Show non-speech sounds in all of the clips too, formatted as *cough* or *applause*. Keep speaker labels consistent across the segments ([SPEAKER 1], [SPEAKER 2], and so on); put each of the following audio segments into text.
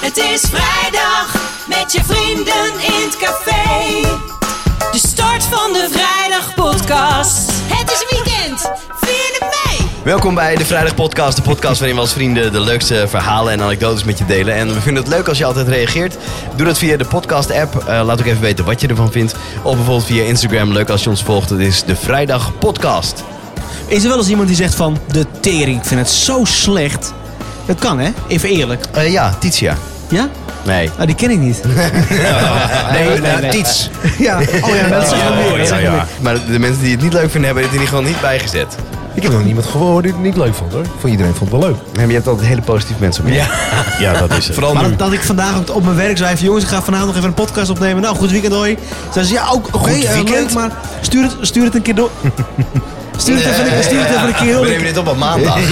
[SPEAKER 1] Het is vrijdag met je vrienden in het café. De start van de vrijdag podcast. Het is weekend. Vier het mee.
[SPEAKER 2] *laughs* Welkom bij de Vrijdag Podcast, de podcast waarin we als vrienden de leukste verhalen en anekdotes met je delen. En we vinden het leuk als je altijd reageert. Doe dat via de podcast app. Eh, laat ook even weten wat je ervan vindt. Of bijvoorbeeld via Instagram. Leuk als je ons volgt. Het is de Vrijdag Podcast.
[SPEAKER 3] Is er wel eens iemand die zegt van de tering, ik vind het zo slecht. Dat kan hè, even eerlijk.
[SPEAKER 2] Eh, ja, Titia.
[SPEAKER 3] Ja?
[SPEAKER 2] Nee.
[SPEAKER 3] Ah, die ken ik niet.
[SPEAKER 2] Nee,
[SPEAKER 3] nee, nee.
[SPEAKER 2] Tiets.
[SPEAKER 3] *laughs* Ja, oh ja, dat is echt mooi.
[SPEAKER 2] Ja, ja. Maar de mensen die het niet leuk vinden, hebben dit in ieder geval niet bijgezet.
[SPEAKER 4] Ik heb nog niemand gehoord die het niet leuk vond hoor. Van iedereen vond het wel leuk.
[SPEAKER 2] Nee, maar je hebt altijd hele positieve mensen om je. *laughs* Ja.
[SPEAKER 4] Ja, dat is
[SPEAKER 2] Vooral
[SPEAKER 3] Maar
[SPEAKER 2] nu.
[SPEAKER 3] dat, dat ik vandaag ook op mijn werk zei van jongens, ik ga vanavond nog even een podcast opnemen. Nou, goed weekend hoi. Zei ze, ja ook, oké, eh, leuk,
[SPEAKER 2] weekend.
[SPEAKER 3] maar stuur het, stuur het een keer
[SPEAKER 2] *laughs*
[SPEAKER 3] door. Stuur het even, stuur het even een keer
[SPEAKER 2] We
[SPEAKER 3] door.
[SPEAKER 2] nemen dit op op maandag.
[SPEAKER 1] Maar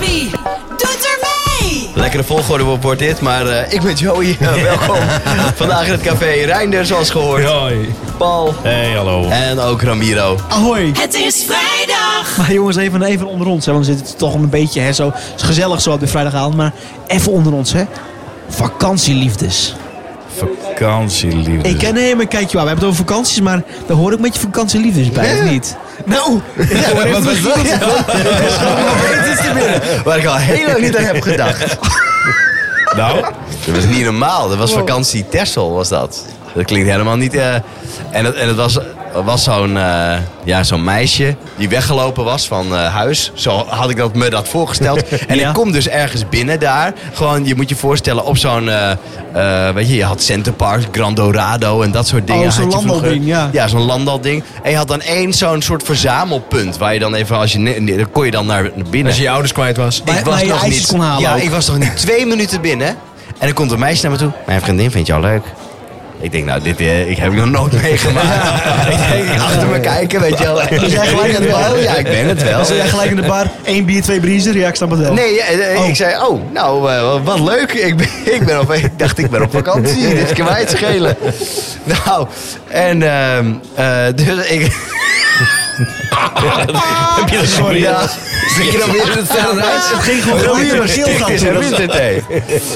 [SPEAKER 1] wie doet er mee?
[SPEAKER 2] Lekkere volgorde wordt dit, maar eh, ik ben Joey. *laughs* Eh,
[SPEAKER 4] *laughs*
[SPEAKER 2] welkom. Vandaag in het café Reinder, zoals gehoord.
[SPEAKER 4] Hoi.
[SPEAKER 2] Paul.
[SPEAKER 4] Hey, hallo.
[SPEAKER 2] En ook Ramiro. *laughs*
[SPEAKER 3] Ahoy.
[SPEAKER 1] Het is vrijdag.
[SPEAKER 3] Maar jongens, even, even onder ons, hè, want we zitten toch een beetje hè, zo, het is gezellig zo op de vrijdagavond. Maar even onder ons, hè. Vakantieliefdes.
[SPEAKER 4] Vakantieliefde.
[SPEAKER 3] Ik ken hem, maar kijk je wel. We hebben het over vakanties, maar daar hoor ik met je vakantieliefdes bij, of niet? Nou, ja, maar even terug. *laughs*
[SPEAKER 2] Waar ik al heel lang niet aan heb gedacht.
[SPEAKER 4] Nou,
[SPEAKER 2] Dat was niet normaal. Dat was vakantie Texel, was dat. Dat klinkt helemaal niet... eh, en het, en het was, was zo'n eh, ja, zo'n meisje die weggelopen was van eh, huis. Zo had ik dat, me dat
[SPEAKER 3] *laughs*
[SPEAKER 2] voorgesteld. En
[SPEAKER 3] Ja.
[SPEAKER 2] ik kom dus ergens binnen daar. Gewoon, je moet je voorstellen, op zo'n... eh, eh, weet je, je had Center Park, Grand Dorado en dat soort dingen.
[SPEAKER 3] Oh, zo'n
[SPEAKER 2] had je vroeger.
[SPEAKER 3] landbouwding, ja.
[SPEAKER 2] Ja, zo'n landalding. En je had dan één zo'n soort verzamelpunt. Waar je dan even, als je... ne- ne- Dan kon je dan naar binnen.
[SPEAKER 4] als je je ouders kwijt was.
[SPEAKER 3] Waar-
[SPEAKER 2] Ik
[SPEAKER 3] waar
[SPEAKER 2] was
[SPEAKER 3] je
[SPEAKER 2] nog
[SPEAKER 3] ijsjes
[SPEAKER 2] niet.
[SPEAKER 3] kon halen
[SPEAKER 2] ja,
[SPEAKER 3] ook. *laughs*
[SPEAKER 2] ik was nog niet twee minuten binnen. En dan komt een meisje naar me toe. Mijn vriendin vindt jou leuk. Ik denk, nou, dit eh, ik heb ik nog nooit meegemaakt. *laughs* ik denk, achter me kijken, weet je wel.
[SPEAKER 3] Dus jij gelijk aan de
[SPEAKER 2] *laughs*
[SPEAKER 3] bar?
[SPEAKER 2] Ja, ik ben het wel.
[SPEAKER 3] Als jij gelijk in de bar, één bier, twee briezer, ja, ik snap het wel.
[SPEAKER 2] Nee, eh, eh, ik
[SPEAKER 3] Oh.
[SPEAKER 2] zei, oh, nou, eh, wat leuk. Ik, ben, *laughs* ik, ben op, ik dacht, ik ben op vakantie. Dit kan mij het schelen. *laughs* Nou, en ehm, eh, dus ik...
[SPEAKER 4] Heb je dat
[SPEAKER 3] Sorry,
[SPEAKER 4] geprobeerd?
[SPEAKER 2] Ja, ik je dan weer *laughs* het verhaal uit?
[SPEAKER 3] Het ging gewoon door je keelgat,
[SPEAKER 2] Het is
[SPEAKER 3] hoor.
[SPEAKER 2] winterthee.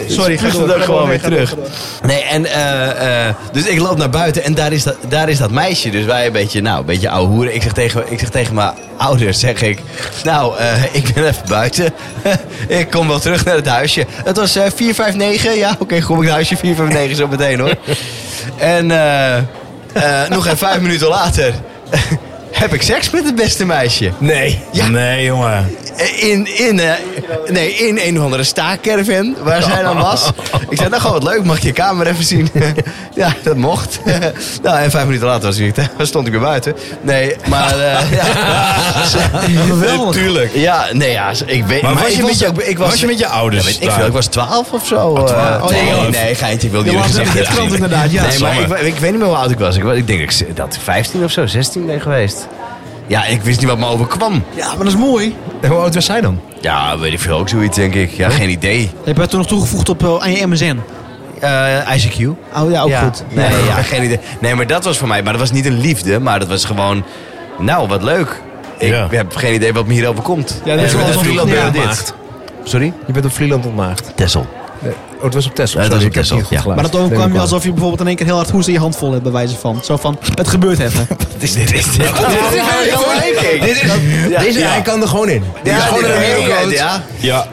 [SPEAKER 3] Sorry, ga
[SPEAKER 2] Moest
[SPEAKER 3] door,
[SPEAKER 2] het ook
[SPEAKER 3] ga
[SPEAKER 2] gewoon
[SPEAKER 3] door,
[SPEAKER 2] weer
[SPEAKER 3] ga door,
[SPEAKER 2] terug. Nee, en, eh, eh, dus ik loop naar buiten en daar is dat, daar is dat meisje. Dus wij een beetje, nou, een beetje ouwe hoeren. Ik zeg tegen, ik zeg tegen mijn ouders, zeg ik, nou, eh, *laughs* ik ben even buiten. *laughs* ik kom wel terug naar het huisje. Het was eh 459, ja, oké, kom ik naar huisje 459 zo meteen hoor. en eh, eh, nog geen vijf minuten later *laughs* heb ik seks met het beste meisje.
[SPEAKER 4] Nee.
[SPEAKER 2] Ja.
[SPEAKER 4] Nee, jongen.
[SPEAKER 2] In, in, eh, nee, in een of andere staakcaravan waar zij dan
[SPEAKER 4] *laughs*
[SPEAKER 2] was. Ik zei, nou gewoon wat leuk, mag ik je kamer even zien? *laughs* ja, dat
[SPEAKER 4] *laughs*
[SPEAKER 2] mocht. nou, en vijf minuten later was ik, *laughs* weer- stond ik weer buiten. Nee, maar...
[SPEAKER 4] *laughs*
[SPEAKER 2] eh, ja.
[SPEAKER 3] Geweldig.
[SPEAKER 4] Tuurlijk.
[SPEAKER 2] ja, nee, ja, ik weet...
[SPEAKER 4] Maar was
[SPEAKER 2] ik
[SPEAKER 4] je met je-
[SPEAKER 2] ik
[SPEAKER 4] was je met je ouders
[SPEAKER 2] Ja, weet ik,
[SPEAKER 4] daar?
[SPEAKER 2] veel, ik was twaalf of zo. eh,
[SPEAKER 4] twaalf.
[SPEAKER 2] nee,
[SPEAKER 4] Oh,
[SPEAKER 2] nee,
[SPEAKER 4] ja.
[SPEAKER 2] nee, geintje, ik wil niet jullie
[SPEAKER 3] Je was
[SPEAKER 2] gezegd
[SPEAKER 3] het
[SPEAKER 2] hebben.
[SPEAKER 3] krant inderdaad, ja.
[SPEAKER 2] Nee, maar ik,
[SPEAKER 4] Samme.
[SPEAKER 2] ik weet niet meer hoe oud ik was. Ik, wa- ik denk dat ik- dat ik 15 of zo, 16 ben geweest. Ja, ik wist niet wat me overkwam.
[SPEAKER 3] Ja, maar dat is mooi.
[SPEAKER 4] En hoe oud was zij dan?
[SPEAKER 2] Ja, weet ik veel, ook zoiets denk ik. Ja, geen idee.
[SPEAKER 3] Heb je het toen nog toegevoegd op, eh, aan je MSN?
[SPEAKER 2] Eh ICQ.
[SPEAKER 3] Oh ja, ook
[SPEAKER 2] ja.
[SPEAKER 3] goed.
[SPEAKER 2] Nee, ja, *laughs* geen idee. Nee, maar dat was voor mij. Maar dat was niet een liefde, maar dat was gewoon. Nou, wat leuk. Ik
[SPEAKER 4] Ja.
[SPEAKER 2] heb geen idee wat me hier overkomt.
[SPEAKER 3] Ja, dat is
[SPEAKER 2] En
[SPEAKER 3] wel
[SPEAKER 2] met
[SPEAKER 3] alsof je
[SPEAKER 2] Vlieland
[SPEAKER 3] knap
[SPEAKER 2] ben je
[SPEAKER 4] maakt.
[SPEAKER 2] Sorry?
[SPEAKER 4] Je bent op Vlieland ontmaagd.
[SPEAKER 2] Tessel.
[SPEAKER 4] Oh, het was op Tessel.
[SPEAKER 2] Ja, het
[SPEAKER 4] Sorry,
[SPEAKER 2] was op
[SPEAKER 4] ik heb
[SPEAKER 2] Texel,
[SPEAKER 4] niet goed
[SPEAKER 2] ja.
[SPEAKER 4] geluisterd.
[SPEAKER 3] Maar dat overkwam
[SPEAKER 4] Neem
[SPEAKER 3] je
[SPEAKER 4] ik
[SPEAKER 3] alsof je bijvoorbeeld in één keer heel hard hoest in je hand vol hebt, bij wijze van. Zo van, het gebeurt even.
[SPEAKER 2] Wat is dit? Dit is dit. Dit is.
[SPEAKER 4] aan. Deze,
[SPEAKER 2] Ja.
[SPEAKER 4] hij kan er gewoon in. Die
[SPEAKER 2] Ja,
[SPEAKER 4] is gewoon
[SPEAKER 2] dit- ja,
[SPEAKER 4] een heel groot.
[SPEAKER 2] ja.
[SPEAKER 5] Ja.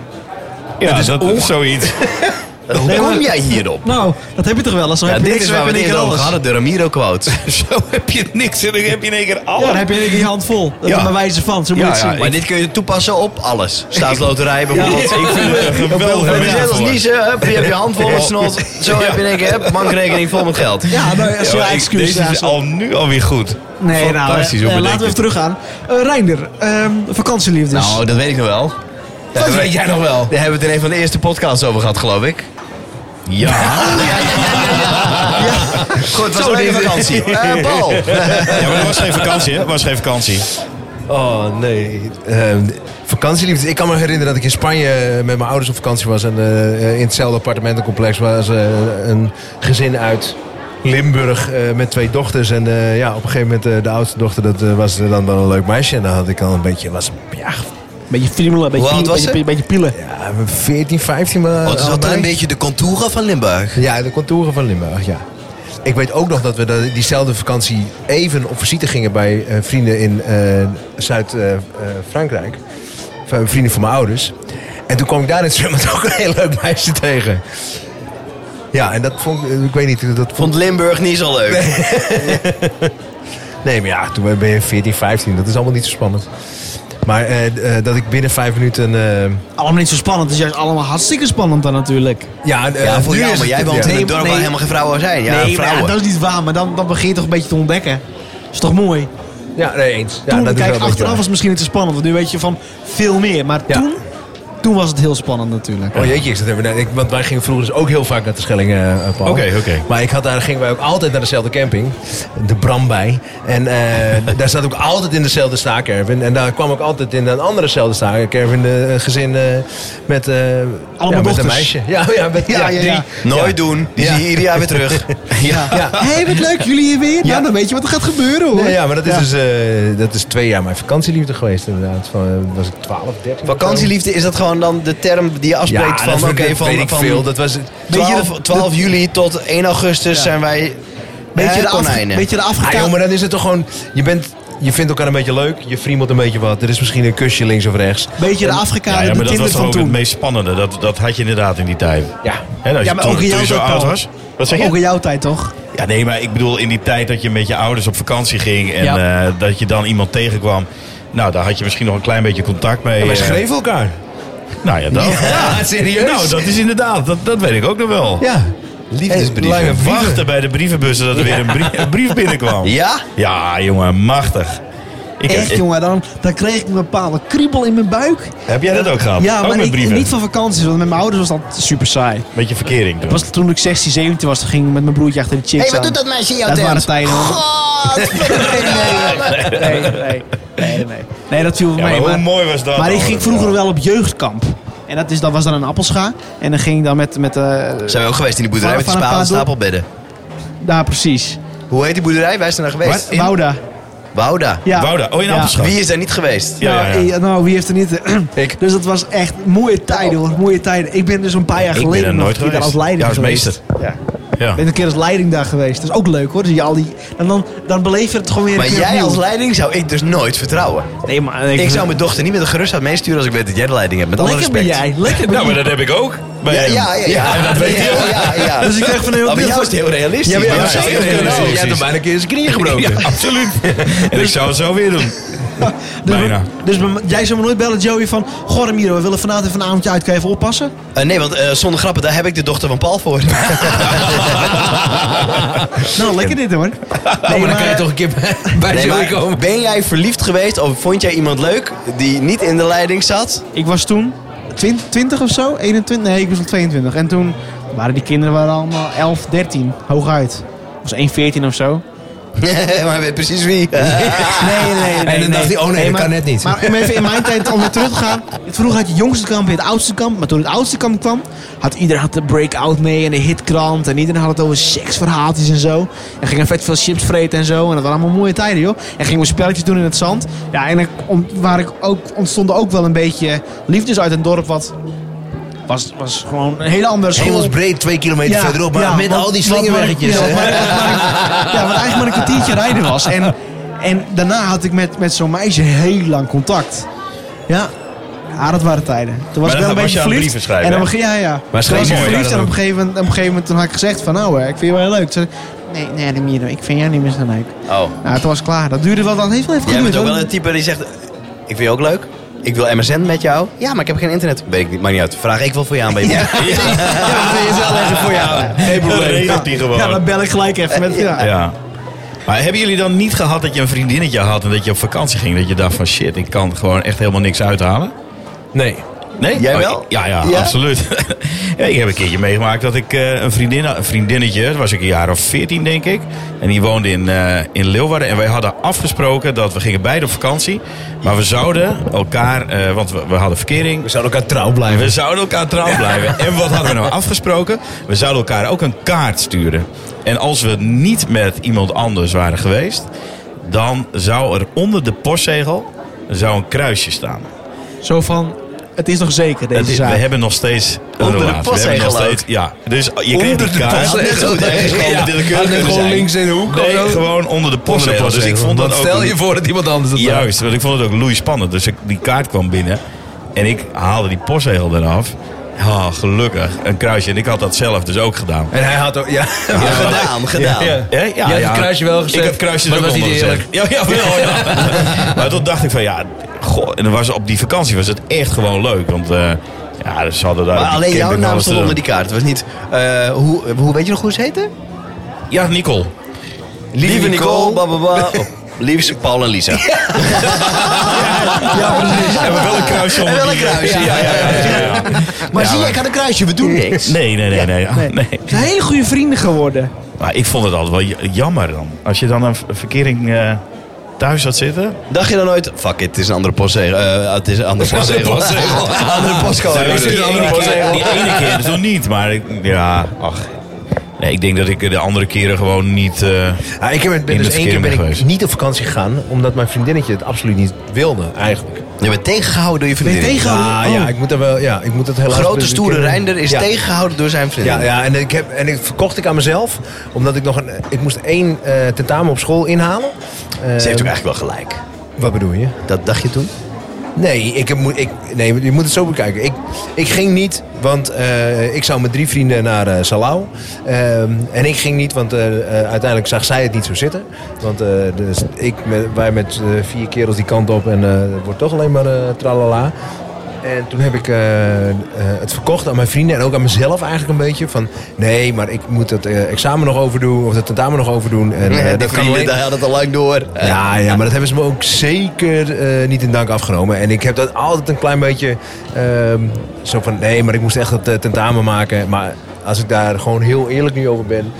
[SPEAKER 5] Ja, dat is zoiets.
[SPEAKER 2] Hoe kom jij hierop?
[SPEAKER 3] Nou, dat heb je toch wel? Als
[SPEAKER 2] Ja,
[SPEAKER 3] heb je
[SPEAKER 2] dit
[SPEAKER 3] niks,
[SPEAKER 2] is
[SPEAKER 3] dan
[SPEAKER 2] waar we
[SPEAKER 3] heb
[SPEAKER 2] het
[SPEAKER 3] je in
[SPEAKER 2] eerder
[SPEAKER 3] één keer
[SPEAKER 2] over
[SPEAKER 3] alles.
[SPEAKER 2] hadden, de Ramiro-quote.
[SPEAKER 5] *laughs* Zo heb je niks en dan heb je in één keer
[SPEAKER 3] Ja, dan
[SPEAKER 5] alles.
[SPEAKER 3] heb je in één keer je hand vol. Dat
[SPEAKER 5] Ja.
[SPEAKER 3] is bij wijze van, zo moet je
[SPEAKER 5] Ja,
[SPEAKER 3] het
[SPEAKER 5] ja,
[SPEAKER 3] zien.
[SPEAKER 2] Maar dit kun je toepassen op alles. Staatsloterij bijvoorbeeld.
[SPEAKER 5] Ik vind het een
[SPEAKER 2] Heb je zelfs
[SPEAKER 5] geweldig.
[SPEAKER 2] niezen, hup, je hebt je hand vol met snot. Zo heb je in één keer, hup, bankrekening vol met geld.
[SPEAKER 3] Ja, nou, als je
[SPEAKER 5] Ja, ik-
[SPEAKER 3] excuus
[SPEAKER 5] Deze
[SPEAKER 3] ja,
[SPEAKER 5] is
[SPEAKER 3] zo.
[SPEAKER 5] al nu alweer goed.
[SPEAKER 3] Nee, nou,
[SPEAKER 5] Fantastisch,
[SPEAKER 3] eh,
[SPEAKER 5] hoe
[SPEAKER 3] eh,
[SPEAKER 5] bedenk
[SPEAKER 3] laten we
[SPEAKER 5] je
[SPEAKER 3] even teruggaan. Eh Reinder, ehm, vakantieliefdes.
[SPEAKER 2] Nou, dat weet ik nog wel. Dat weet jij nog wel. Daar hebben we het in een van de eerste podcasts over gehad, geloof ik.
[SPEAKER 5] Ja.
[SPEAKER 2] Goed, het was een leuke vakantie. Eh, Paul.
[SPEAKER 5] ja, maar dat was geen vakantie, hè? Dat was geen vakantie.
[SPEAKER 4] Oh nee. Ehm vakantieliefde. Ik kan me herinneren dat ik in Spanje eh, met mijn ouders op vakantie was. En eh, in hetzelfde appartementencomplex was eh, een gezin uit Limburg eh, met twee dochters. En eh, ja, op een gegeven moment eh, de oudste dochter, dat eh, was eh, dan wel een leuk meisje. En dan had ik al een beetje, was, ja,
[SPEAKER 3] Beetje friemelen, beetje,
[SPEAKER 2] Hoe oud
[SPEAKER 3] pie-
[SPEAKER 2] was
[SPEAKER 3] beetje,
[SPEAKER 2] ze?
[SPEAKER 3] pie- beetje pielen.
[SPEAKER 4] Ja, 14, 15 maar.
[SPEAKER 2] Oh, het is wel
[SPEAKER 4] allebei.
[SPEAKER 2] een beetje de contouren van Limburg.
[SPEAKER 4] Ja, de contouren van Limburg, ja. Ik weet ook nog dat we de- diezelfde vakantie even op visite gingen bij eh, vrienden in eh, Zuid-Frankrijk. eh, vrienden van mijn ouders. En toen kwam ik daar in het zwembad *laughs* ook een heel leuk meisje tegen. Ja, en dat vond ik, eh, ik weet niet, dat vond
[SPEAKER 2] Vond Limburg niet zo leuk.
[SPEAKER 4] Nee, maar ja, toen ben je 14, 15, dat is allemaal niet zo spannend. Maar eh, eh, dat ik binnen vijf minuten... eh,
[SPEAKER 3] Allemaal niet zo spannend. Het is juist allemaal hartstikke spannend dan natuurlijk.
[SPEAKER 4] ja, eh,
[SPEAKER 2] Ja, voor
[SPEAKER 4] nu
[SPEAKER 2] jou,
[SPEAKER 4] is
[SPEAKER 2] maar jij
[SPEAKER 4] het-
[SPEAKER 2] woont
[SPEAKER 4] ja.
[SPEAKER 2] in
[SPEAKER 3] Nee,
[SPEAKER 2] een dorp waar
[SPEAKER 3] nee.
[SPEAKER 2] helemaal geen vrouwen zijn. Ja,
[SPEAKER 3] nee, maar
[SPEAKER 2] vrouwen.
[SPEAKER 3] dat is niet waar. Maar dan, dan begin je toch een beetje te ontdekken. Is toch mooi?
[SPEAKER 4] Ja, nee, eens. Ja,
[SPEAKER 3] toen,
[SPEAKER 4] dat is wel
[SPEAKER 3] kijk,
[SPEAKER 4] een beetje
[SPEAKER 3] achteraf
[SPEAKER 4] waar.
[SPEAKER 3] was het misschien niet zo spannend. Want nu weet je van veel meer. Maar
[SPEAKER 4] Ja.
[SPEAKER 3] toen, toen was het heel spannend natuurlijk.
[SPEAKER 4] Oh jeetje, ik zat even, na- ik, want wij gingen vroeger dus ook heel vaak naar de Schelling, eh, eh, Paul.
[SPEAKER 5] Oké, oké.
[SPEAKER 4] Maar ik had daar, gingen wij ook altijd naar dezelfde camping, de Brambij. En eh, *laughs* daar zat ook altijd in dezelfde staakerven. En daar kwam ook altijd in een andere zelfde staakerven een gezin eh, met, eh ja, met
[SPEAKER 3] dochters.
[SPEAKER 4] een meisje. *laughs* Ja, ja, met, ja,
[SPEAKER 3] Ja, ja, ja.
[SPEAKER 4] drie.
[SPEAKER 2] Nooit
[SPEAKER 4] Ja.
[SPEAKER 2] doen. Die
[SPEAKER 4] Ja.
[SPEAKER 2] zie je ieder *laughs* jaar weer terug. ja.
[SPEAKER 4] Ja.
[SPEAKER 3] Hé, hey, wat leuk jullie hier
[SPEAKER 5] *laughs*
[SPEAKER 3] weer.
[SPEAKER 4] Ja.
[SPEAKER 3] Nou, dan weet je wat er gaat gebeuren hoor.
[SPEAKER 4] Nee, ja, maar dat is, dus, eh, dat is twee jaar mijn vakantieliefde geweest inderdaad. Van, eh, was ik 12, 13 of zo?
[SPEAKER 2] Vakantieliefde, is dat gewoon dan de term die je
[SPEAKER 4] Ja,
[SPEAKER 2] afspreekt
[SPEAKER 4] dat
[SPEAKER 2] van...
[SPEAKER 4] weet ik-
[SPEAKER 2] oké, van,
[SPEAKER 4] weet ik
[SPEAKER 2] van
[SPEAKER 4] veel. Dat was,
[SPEAKER 2] 12, 12 juli tot 1 augustus zijn wij
[SPEAKER 3] Beetje,
[SPEAKER 2] eh,
[SPEAKER 3] de af,
[SPEAKER 2] konijnen.
[SPEAKER 3] beetje de
[SPEAKER 4] Ah,
[SPEAKER 3] afgekaart.
[SPEAKER 4] joh, maar dan is het toch gewoon... Je, bent, je vindt elkaar een beetje leuk, je friemelt een beetje wat. Er is misschien een kusje links of rechts.
[SPEAKER 3] beetje de
[SPEAKER 5] Ja,
[SPEAKER 3] afgekaderde
[SPEAKER 5] ja, maar dat
[SPEAKER 3] Tinder
[SPEAKER 5] was toch
[SPEAKER 3] van
[SPEAKER 5] ook het
[SPEAKER 3] toen.
[SPEAKER 5] meest spannende. Dat, dat had je inderdaad in die tijd.
[SPEAKER 4] Ja.
[SPEAKER 5] Hè, als
[SPEAKER 3] Ja,
[SPEAKER 5] je
[SPEAKER 3] maar
[SPEAKER 5] toen,
[SPEAKER 3] ook in
[SPEAKER 5] toen
[SPEAKER 3] jouw
[SPEAKER 5] je zo
[SPEAKER 3] tijd,
[SPEAKER 5] oud
[SPEAKER 3] Paul.
[SPEAKER 5] was. Wat zeg
[SPEAKER 3] Ook
[SPEAKER 5] je?
[SPEAKER 3] in jouw tijd toch?
[SPEAKER 5] Ja, nee, maar ik bedoel in die tijd dat je met je ouders op vakantie ging. En
[SPEAKER 3] Ja.
[SPEAKER 5] eh, dat je dan iemand tegenkwam. Nou, daar had je misschien nog een klein beetje contact mee.
[SPEAKER 4] Wij
[SPEAKER 5] eh.
[SPEAKER 4] schreven elkaar.
[SPEAKER 5] Nou
[SPEAKER 3] *laughs*
[SPEAKER 5] ja, dat.
[SPEAKER 4] Ja, serieus?
[SPEAKER 5] Nou, dat is inderdaad. Dat, dat weet ik ook nog wel.
[SPEAKER 4] Ja.
[SPEAKER 2] Liefdesbrieven.
[SPEAKER 4] Lange brieven.
[SPEAKER 5] Wachten bij de brievenbussen dat er weer een brie- een brief, binnenkwam.
[SPEAKER 2] Ja?
[SPEAKER 5] Ja, jongen, machtig. Ik,
[SPEAKER 3] Echt
[SPEAKER 5] ik-
[SPEAKER 3] jongen, dan, dan kreeg ik een bepaalde kriebel in mijn buik.
[SPEAKER 5] Heb jij dat ook gehad?
[SPEAKER 3] Ja,
[SPEAKER 5] ook
[SPEAKER 3] maar
[SPEAKER 5] met
[SPEAKER 3] ik-
[SPEAKER 5] brieven?
[SPEAKER 3] niet van vakanties, want met mijn ouders was dat super saai.
[SPEAKER 5] Beetje verkering doen.
[SPEAKER 3] Pas toen ik 16, 17 was, dan ging ik met mijn broertje achter de chicks aan.
[SPEAKER 2] meisje in
[SPEAKER 3] Dat waren tijden. hoor.
[SPEAKER 5] *laughs*
[SPEAKER 3] Nee, nee, nee, nee, nee. Nee, dat viel voor
[SPEAKER 5] Ja,
[SPEAKER 3] mij.
[SPEAKER 5] maar hoe mooi was dat?
[SPEAKER 3] maar ik
[SPEAKER 5] dan?
[SPEAKER 3] ging vroeger wel op jeugdkamp. En dat, is, dat was dan een appelscha. En dan ging ik dan met... met eh,
[SPEAKER 2] Zijn we ook geweest in die boerderij
[SPEAKER 3] Van-
[SPEAKER 2] met die
[SPEAKER 3] van
[SPEAKER 2] spalen
[SPEAKER 3] een
[SPEAKER 2] en
[SPEAKER 3] paar
[SPEAKER 2] stapelbedden.
[SPEAKER 3] daar precies.
[SPEAKER 2] Hoe heet die boerderij? Wij zijn daar geweest.
[SPEAKER 5] Wat? In-
[SPEAKER 3] Wouda.
[SPEAKER 2] Wouda.
[SPEAKER 3] Ja.
[SPEAKER 5] Wouda, oh in
[SPEAKER 3] Ja.
[SPEAKER 5] Appelschap.
[SPEAKER 2] Wie is daar niet geweest?
[SPEAKER 5] Ja, ja, ja.
[SPEAKER 3] Nou, eh, nou, wie heeft er
[SPEAKER 5] *clears throat*
[SPEAKER 3] niet?
[SPEAKER 4] Ik.
[SPEAKER 3] Dus dat was echt mooie tijden hoor, mooie tijden. Ik ben dus een paar jaar
[SPEAKER 5] Ik ben
[SPEAKER 3] geleden
[SPEAKER 5] er
[SPEAKER 3] nog
[SPEAKER 5] nooit
[SPEAKER 3] een keer
[SPEAKER 5] geweest.
[SPEAKER 3] als leiding
[SPEAKER 5] Ja, als
[SPEAKER 3] geweest.
[SPEAKER 5] meester.
[SPEAKER 3] Ja.
[SPEAKER 5] Ja.
[SPEAKER 3] Ik ben een keer als leiding daar geweest. Dat is ook leuk hoor. Dus je al die, en dan, dan beleef je het gewoon weer een
[SPEAKER 2] Maar
[SPEAKER 3] keer
[SPEAKER 2] jij
[SPEAKER 3] opnieuw.
[SPEAKER 2] als leiding zou ik dus nooit vertrouwen.
[SPEAKER 3] Nee, maar eh,
[SPEAKER 2] Ik zou mijn dochter niet met een gerust hart meesturen als ik weet dat jij de leiding hebt. Met alle
[SPEAKER 3] Lekker ben
[SPEAKER 2] respect.
[SPEAKER 3] jij, lekker ben
[SPEAKER 5] Nou, maar
[SPEAKER 3] jij.
[SPEAKER 5] dat heb ik ook. Bij
[SPEAKER 2] Ja,
[SPEAKER 5] hem.
[SPEAKER 2] ja, ja. ja.
[SPEAKER 5] en dat weet je ook.
[SPEAKER 2] Ja, ja, ja.
[SPEAKER 3] *laughs* Dus ik krijg van heel
[SPEAKER 2] Maar bij
[SPEAKER 3] veel-
[SPEAKER 2] jou is het heel realistisch.
[SPEAKER 4] Ja, maar
[SPEAKER 5] Ja,
[SPEAKER 4] ja,
[SPEAKER 5] dat zou
[SPEAKER 4] zeker.
[SPEAKER 5] ik ook
[SPEAKER 4] Jij
[SPEAKER 5] doen.
[SPEAKER 4] hebt hem bijna een keer zijn knieën *laughs* gebroken.
[SPEAKER 5] Ja, absoluut. En ik zou het zo weer doen.
[SPEAKER 3] Dus,
[SPEAKER 5] bijna.
[SPEAKER 3] dus bij- jij zou me nooit bellen, Joey, van... Goh, Ramiro, we willen vanavond even een avondje uit. Kan je even oppassen?
[SPEAKER 2] Eh, nee, want eh, zonder grappen, daar heb ik de dochter van Paul voor.
[SPEAKER 3] *laughs* Nou, lekker dit hoor. Nee,
[SPEAKER 4] maar dan kan je toch een keer bij- bij
[SPEAKER 2] Nee,
[SPEAKER 4] Joey
[SPEAKER 2] maar
[SPEAKER 4] komen.
[SPEAKER 2] ben jij verliefd geweest of vond jij iemand leuk die niet in de leiding zat?
[SPEAKER 3] Ik was toen 20, 20 of zo, 21, nee, ik was al 22. En toen waren die kinderen waren allemaal 11, 13, hooguit. Was 1, 14 of zo.
[SPEAKER 2] maar weet precies wie.
[SPEAKER 3] Nee, nee, nee.
[SPEAKER 4] En dan dacht hij, oh nee, dat
[SPEAKER 3] maar-
[SPEAKER 4] kan net niet.
[SPEAKER 3] Maar om even in mijn tijd om weer terug te gaan. *laughs* Vroeger had je het jongste kamp en het oudste kamp. Maar toen het oudste kamp kwam, had iedereen had de breakout mee en de hitkrant. En iedereen had het over seksverhaaltjes en zo. En gingen vet veel chips vreten en zo. En dat waren allemaal mooie tijden, joh. En gingen we spelletjes doen in het zand. Ja, en er ont- waar ik ook, ontstonden ook wel een beetje liefdes uit een dorp wat... Was, was gewoon een hele andere school.
[SPEAKER 4] Hemelsbreed, twee kilometer verderop, maar met
[SPEAKER 3] want-
[SPEAKER 4] al die
[SPEAKER 3] want-
[SPEAKER 4] slingerweggetjes.
[SPEAKER 3] Ja,
[SPEAKER 4] hè.
[SPEAKER 3] want- maar- maar- ja, wat eigenlijk maar een kwartiertje rijden was. En, en daarna had ik met, met zo'n meisje heel lang contact. Ja. Ja, dat waren tijden. Toen was
[SPEAKER 5] dan
[SPEAKER 3] ik wel een
[SPEAKER 5] was
[SPEAKER 3] beetje
[SPEAKER 5] je aan
[SPEAKER 3] verliefd.
[SPEAKER 5] brieven schrijven,
[SPEAKER 3] en dan
[SPEAKER 5] hè?
[SPEAKER 3] begin ja, ja.
[SPEAKER 4] Maar schreef
[SPEAKER 3] toen was
[SPEAKER 5] je
[SPEAKER 3] ik
[SPEAKER 5] mooi,
[SPEAKER 3] verliefd
[SPEAKER 4] ja,
[SPEAKER 3] en
[SPEAKER 4] dan
[SPEAKER 3] op een, gegeven, moment- op een gegeven moment toen had ik gezegd van nou, eh, ik vind je wel heel leuk. Toen zei ik, nee, nee, Ramiro, ik vind jou niet meer zo leuk.
[SPEAKER 2] Oh,
[SPEAKER 3] Nou, toen was ik klaar. Dat duurde wel, dat heeft wel even
[SPEAKER 2] jij
[SPEAKER 3] geduurd.
[SPEAKER 2] bent ook
[SPEAKER 3] hoor.
[SPEAKER 2] wel een type die zegt, ik vind je ook leuk. Ik wil MSN met jou. Ja, maar ik heb geen internet. Weet ik niet, maakt niet uit. Vraag ik wel voor jou aan bij je. *laughs* Ja, dat is wel even voor jou.
[SPEAKER 5] Geen probleem. regelt die gewoon.
[SPEAKER 3] Ja, dan bel ik gelijk even met ja.
[SPEAKER 5] Ja. Maar hebben jullie dan niet gehad dat je een vriendinnetje had en dat je op vakantie ging? Dat je dacht van shit, ik kan gewoon echt helemaal niks uithalen?
[SPEAKER 4] Nee.
[SPEAKER 5] Nee?
[SPEAKER 2] Jij
[SPEAKER 5] Oh,
[SPEAKER 2] wel?
[SPEAKER 5] ik- ja, ja,
[SPEAKER 2] Ja?
[SPEAKER 5] absoluut. *laughs* ja, ik heb een keertje meegemaakt dat ik eh, een, vriendin, een vriendinnetje, dat was ik een jaar of veertien denk ik. En die woonde in, eh, in Leeuwarden. En wij hadden afgesproken dat we gingen beide op vakantie. Maar we zouden elkaar, eh, want we, we hadden verkering.
[SPEAKER 4] We zouden elkaar trouw
[SPEAKER 5] En
[SPEAKER 4] blijven.
[SPEAKER 5] we zouden elkaar trouw blijven. En wat hadden we nou afgesproken? We zouden elkaar ook een kaart sturen. En als we niet met iemand anders waren geweest, dan zou er onder de postzegel zou een kruisje staan.
[SPEAKER 3] Zo van, het is nog zeker deze
[SPEAKER 5] Het is- we
[SPEAKER 3] zaak.
[SPEAKER 5] hebben nog steeds een
[SPEAKER 2] Onder de
[SPEAKER 5] relatie. we
[SPEAKER 2] postzegel
[SPEAKER 5] hebben nog
[SPEAKER 2] ook.
[SPEAKER 5] steeds, ja. Dus je kreeg die kaart.
[SPEAKER 2] postzegel.
[SPEAKER 5] Net zo goed, hè?
[SPEAKER 2] Ja.
[SPEAKER 5] Gewoon willekeurig kunnen
[SPEAKER 4] gewoon
[SPEAKER 5] zijn.
[SPEAKER 4] links in de hoek.
[SPEAKER 5] Nee,
[SPEAKER 4] Gewoon-
[SPEAKER 5] gewoon onder de postzegel. Dus ik vond dat
[SPEAKER 4] Want
[SPEAKER 5] ook...
[SPEAKER 4] Stel *laughs* je voor dat iemand anders dat maakt.
[SPEAKER 5] Juist, want ik vond het ook loei spannend. Dus ik, die kaart kwam binnen en ik haalde die postzegel eraf. Ah, gelukkig. Een kruisje. En ik had dat zelf dus ook gedaan.
[SPEAKER 4] En hij had ook... Ja, *laughs*
[SPEAKER 2] Ja, gedaan, gedaan.
[SPEAKER 4] Ja.
[SPEAKER 5] Hè?
[SPEAKER 4] Je had het kruisje wel gezet,
[SPEAKER 5] Ik heb kruisje
[SPEAKER 4] maar
[SPEAKER 5] er ook
[SPEAKER 4] het was niet
[SPEAKER 5] onder gezet. Ja, ja, wel,
[SPEAKER 4] *laughs*
[SPEAKER 5] ja. maar toen dacht ik van ja, goh, en dan was, op die vakantie was het echt gewoon leuk. Want eh, ja, ze hadden daar. op
[SPEAKER 2] Maar
[SPEAKER 5] die
[SPEAKER 2] alleen jouw
[SPEAKER 5] camping
[SPEAKER 2] naam
[SPEAKER 5] alles
[SPEAKER 2] stond
[SPEAKER 5] te
[SPEAKER 2] onder die
[SPEAKER 5] doen.
[SPEAKER 2] kaart. Het was niet... eh, hoe, hoe weet je nog hoe ze heette?
[SPEAKER 5] Ja, Nicole.
[SPEAKER 2] Lieve Nicole, bababa. Oh, liefste Paul en Lisa.
[SPEAKER 5] Ja, precies. En wel een kruisje onder
[SPEAKER 2] En wel een
[SPEAKER 5] die-
[SPEAKER 2] kruisje,
[SPEAKER 5] Ja, ja, ja. ja, ja.
[SPEAKER 2] Maar
[SPEAKER 5] Ja,
[SPEAKER 2] zie je,
[SPEAKER 5] maar-
[SPEAKER 2] ik had een kruisje, we doen niks.
[SPEAKER 5] Nee, nee, nee, nee. nee. *laughs* nee.
[SPEAKER 3] Ze zijn hele goede vrienden geworden.
[SPEAKER 5] Maar ik vond het altijd wel j- jammer dan. Als je dan een v- verkering eh, thuis had zitten.
[SPEAKER 2] Dacht je dan nooit, fuck it, het is een andere postzegel. Eh, het is een andere postzegel. *laughs* andere postcode.
[SPEAKER 5] Nou,
[SPEAKER 2] Het is
[SPEAKER 5] die,
[SPEAKER 2] een
[SPEAKER 5] ene
[SPEAKER 2] andere
[SPEAKER 5] keer,
[SPEAKER 2] postzegel.
[SPEAKER 5] die ene keer toen niet, maar ik, ja, ach. Nee, ik denk dat ik de andere keren gewoon niet... eh,
[SPEAKER 4] Ja, ik heb, ben
[SPEAKER 5] In
[SPEAKER 4] dus
[SPEAKER 5] het
[SPEAKER 4] één keer
[SPEAKER 5] verkeer
[SPEAKER 4] ben ik
[SPEAKER 5] ben geweest.
[SPEAKER 4] niet op vakantie gegaan, omdat mijn vriendinnetje het absoluut niet wilde, eigenlijk.
[SPEAKER 2] Je bent tegengehouden door je vriendin.
[SPEAKER 3] Ben je tegen-
[SPEAKER 4] Ja,
[SPEAKER 2] Ah,
[SPEAKER 3] Oh.
[SPEAKER 4] ja, ik moet dat wel, ja, ik moet dat helaas... dus
[SPEAKER 2] Grote stoere Reinder is
[SPEAKER 4] Ja.
[SPEAKER 2] tegengehouden door zijn vriendin.
[SPEAKER 4] Ja, ja en, ik heb, en ik verkocht ik aan mezelf, omdat ik nog een... Ik moest één eh, tentamen op school inhalen. Eh,
[SPEAKER 2] Ze heeft ook eigenlijk wel gelijk.
[SPEAKER 4] Wat bedoel je?
[SPEAKER 2] Dat dacht je toen?
[SPEAKER 4] Nee, ik heb, moet- ik, nee, je moet het zo bekijken. Ik, ik ging niet, want eh, ik zou met drie vrienden naar eh Salau. Ehm, en ik ging niet, want eh, eh, uiteindelijk zag zij het niet zo zitten. Want eh, dus ik, met, wij met eh, vier kerels die kant op en eh, het wordt toch alleen maar eh, tralala. En toen heb ik eh, eh, het verkocht aan mijn vrienden en ook aan mezelf eigenlijk een beetje. Van nee, maar ik moet dat eh, examen nog overdoen of dat tentamen nog overdoen. En, eh,
[SPEAKER 2] Die
[SPEAKER 4] dat kan
[SPEAKER 2] vrienden,
[SPEAKER 4] alleen-
[SPEAKER 2] daar had het al lang door.
[SPEAKER 4] ja, ja, maar dat hebben ze me ook zeker eh, niet in dank afgenomen. En ik heb dat altijd een klein beetje ehm, zo van... Nee, maar ik moest echt dat eh, tentamen maken. Maar als ik daar gewoon heel eerlijk nu over ben...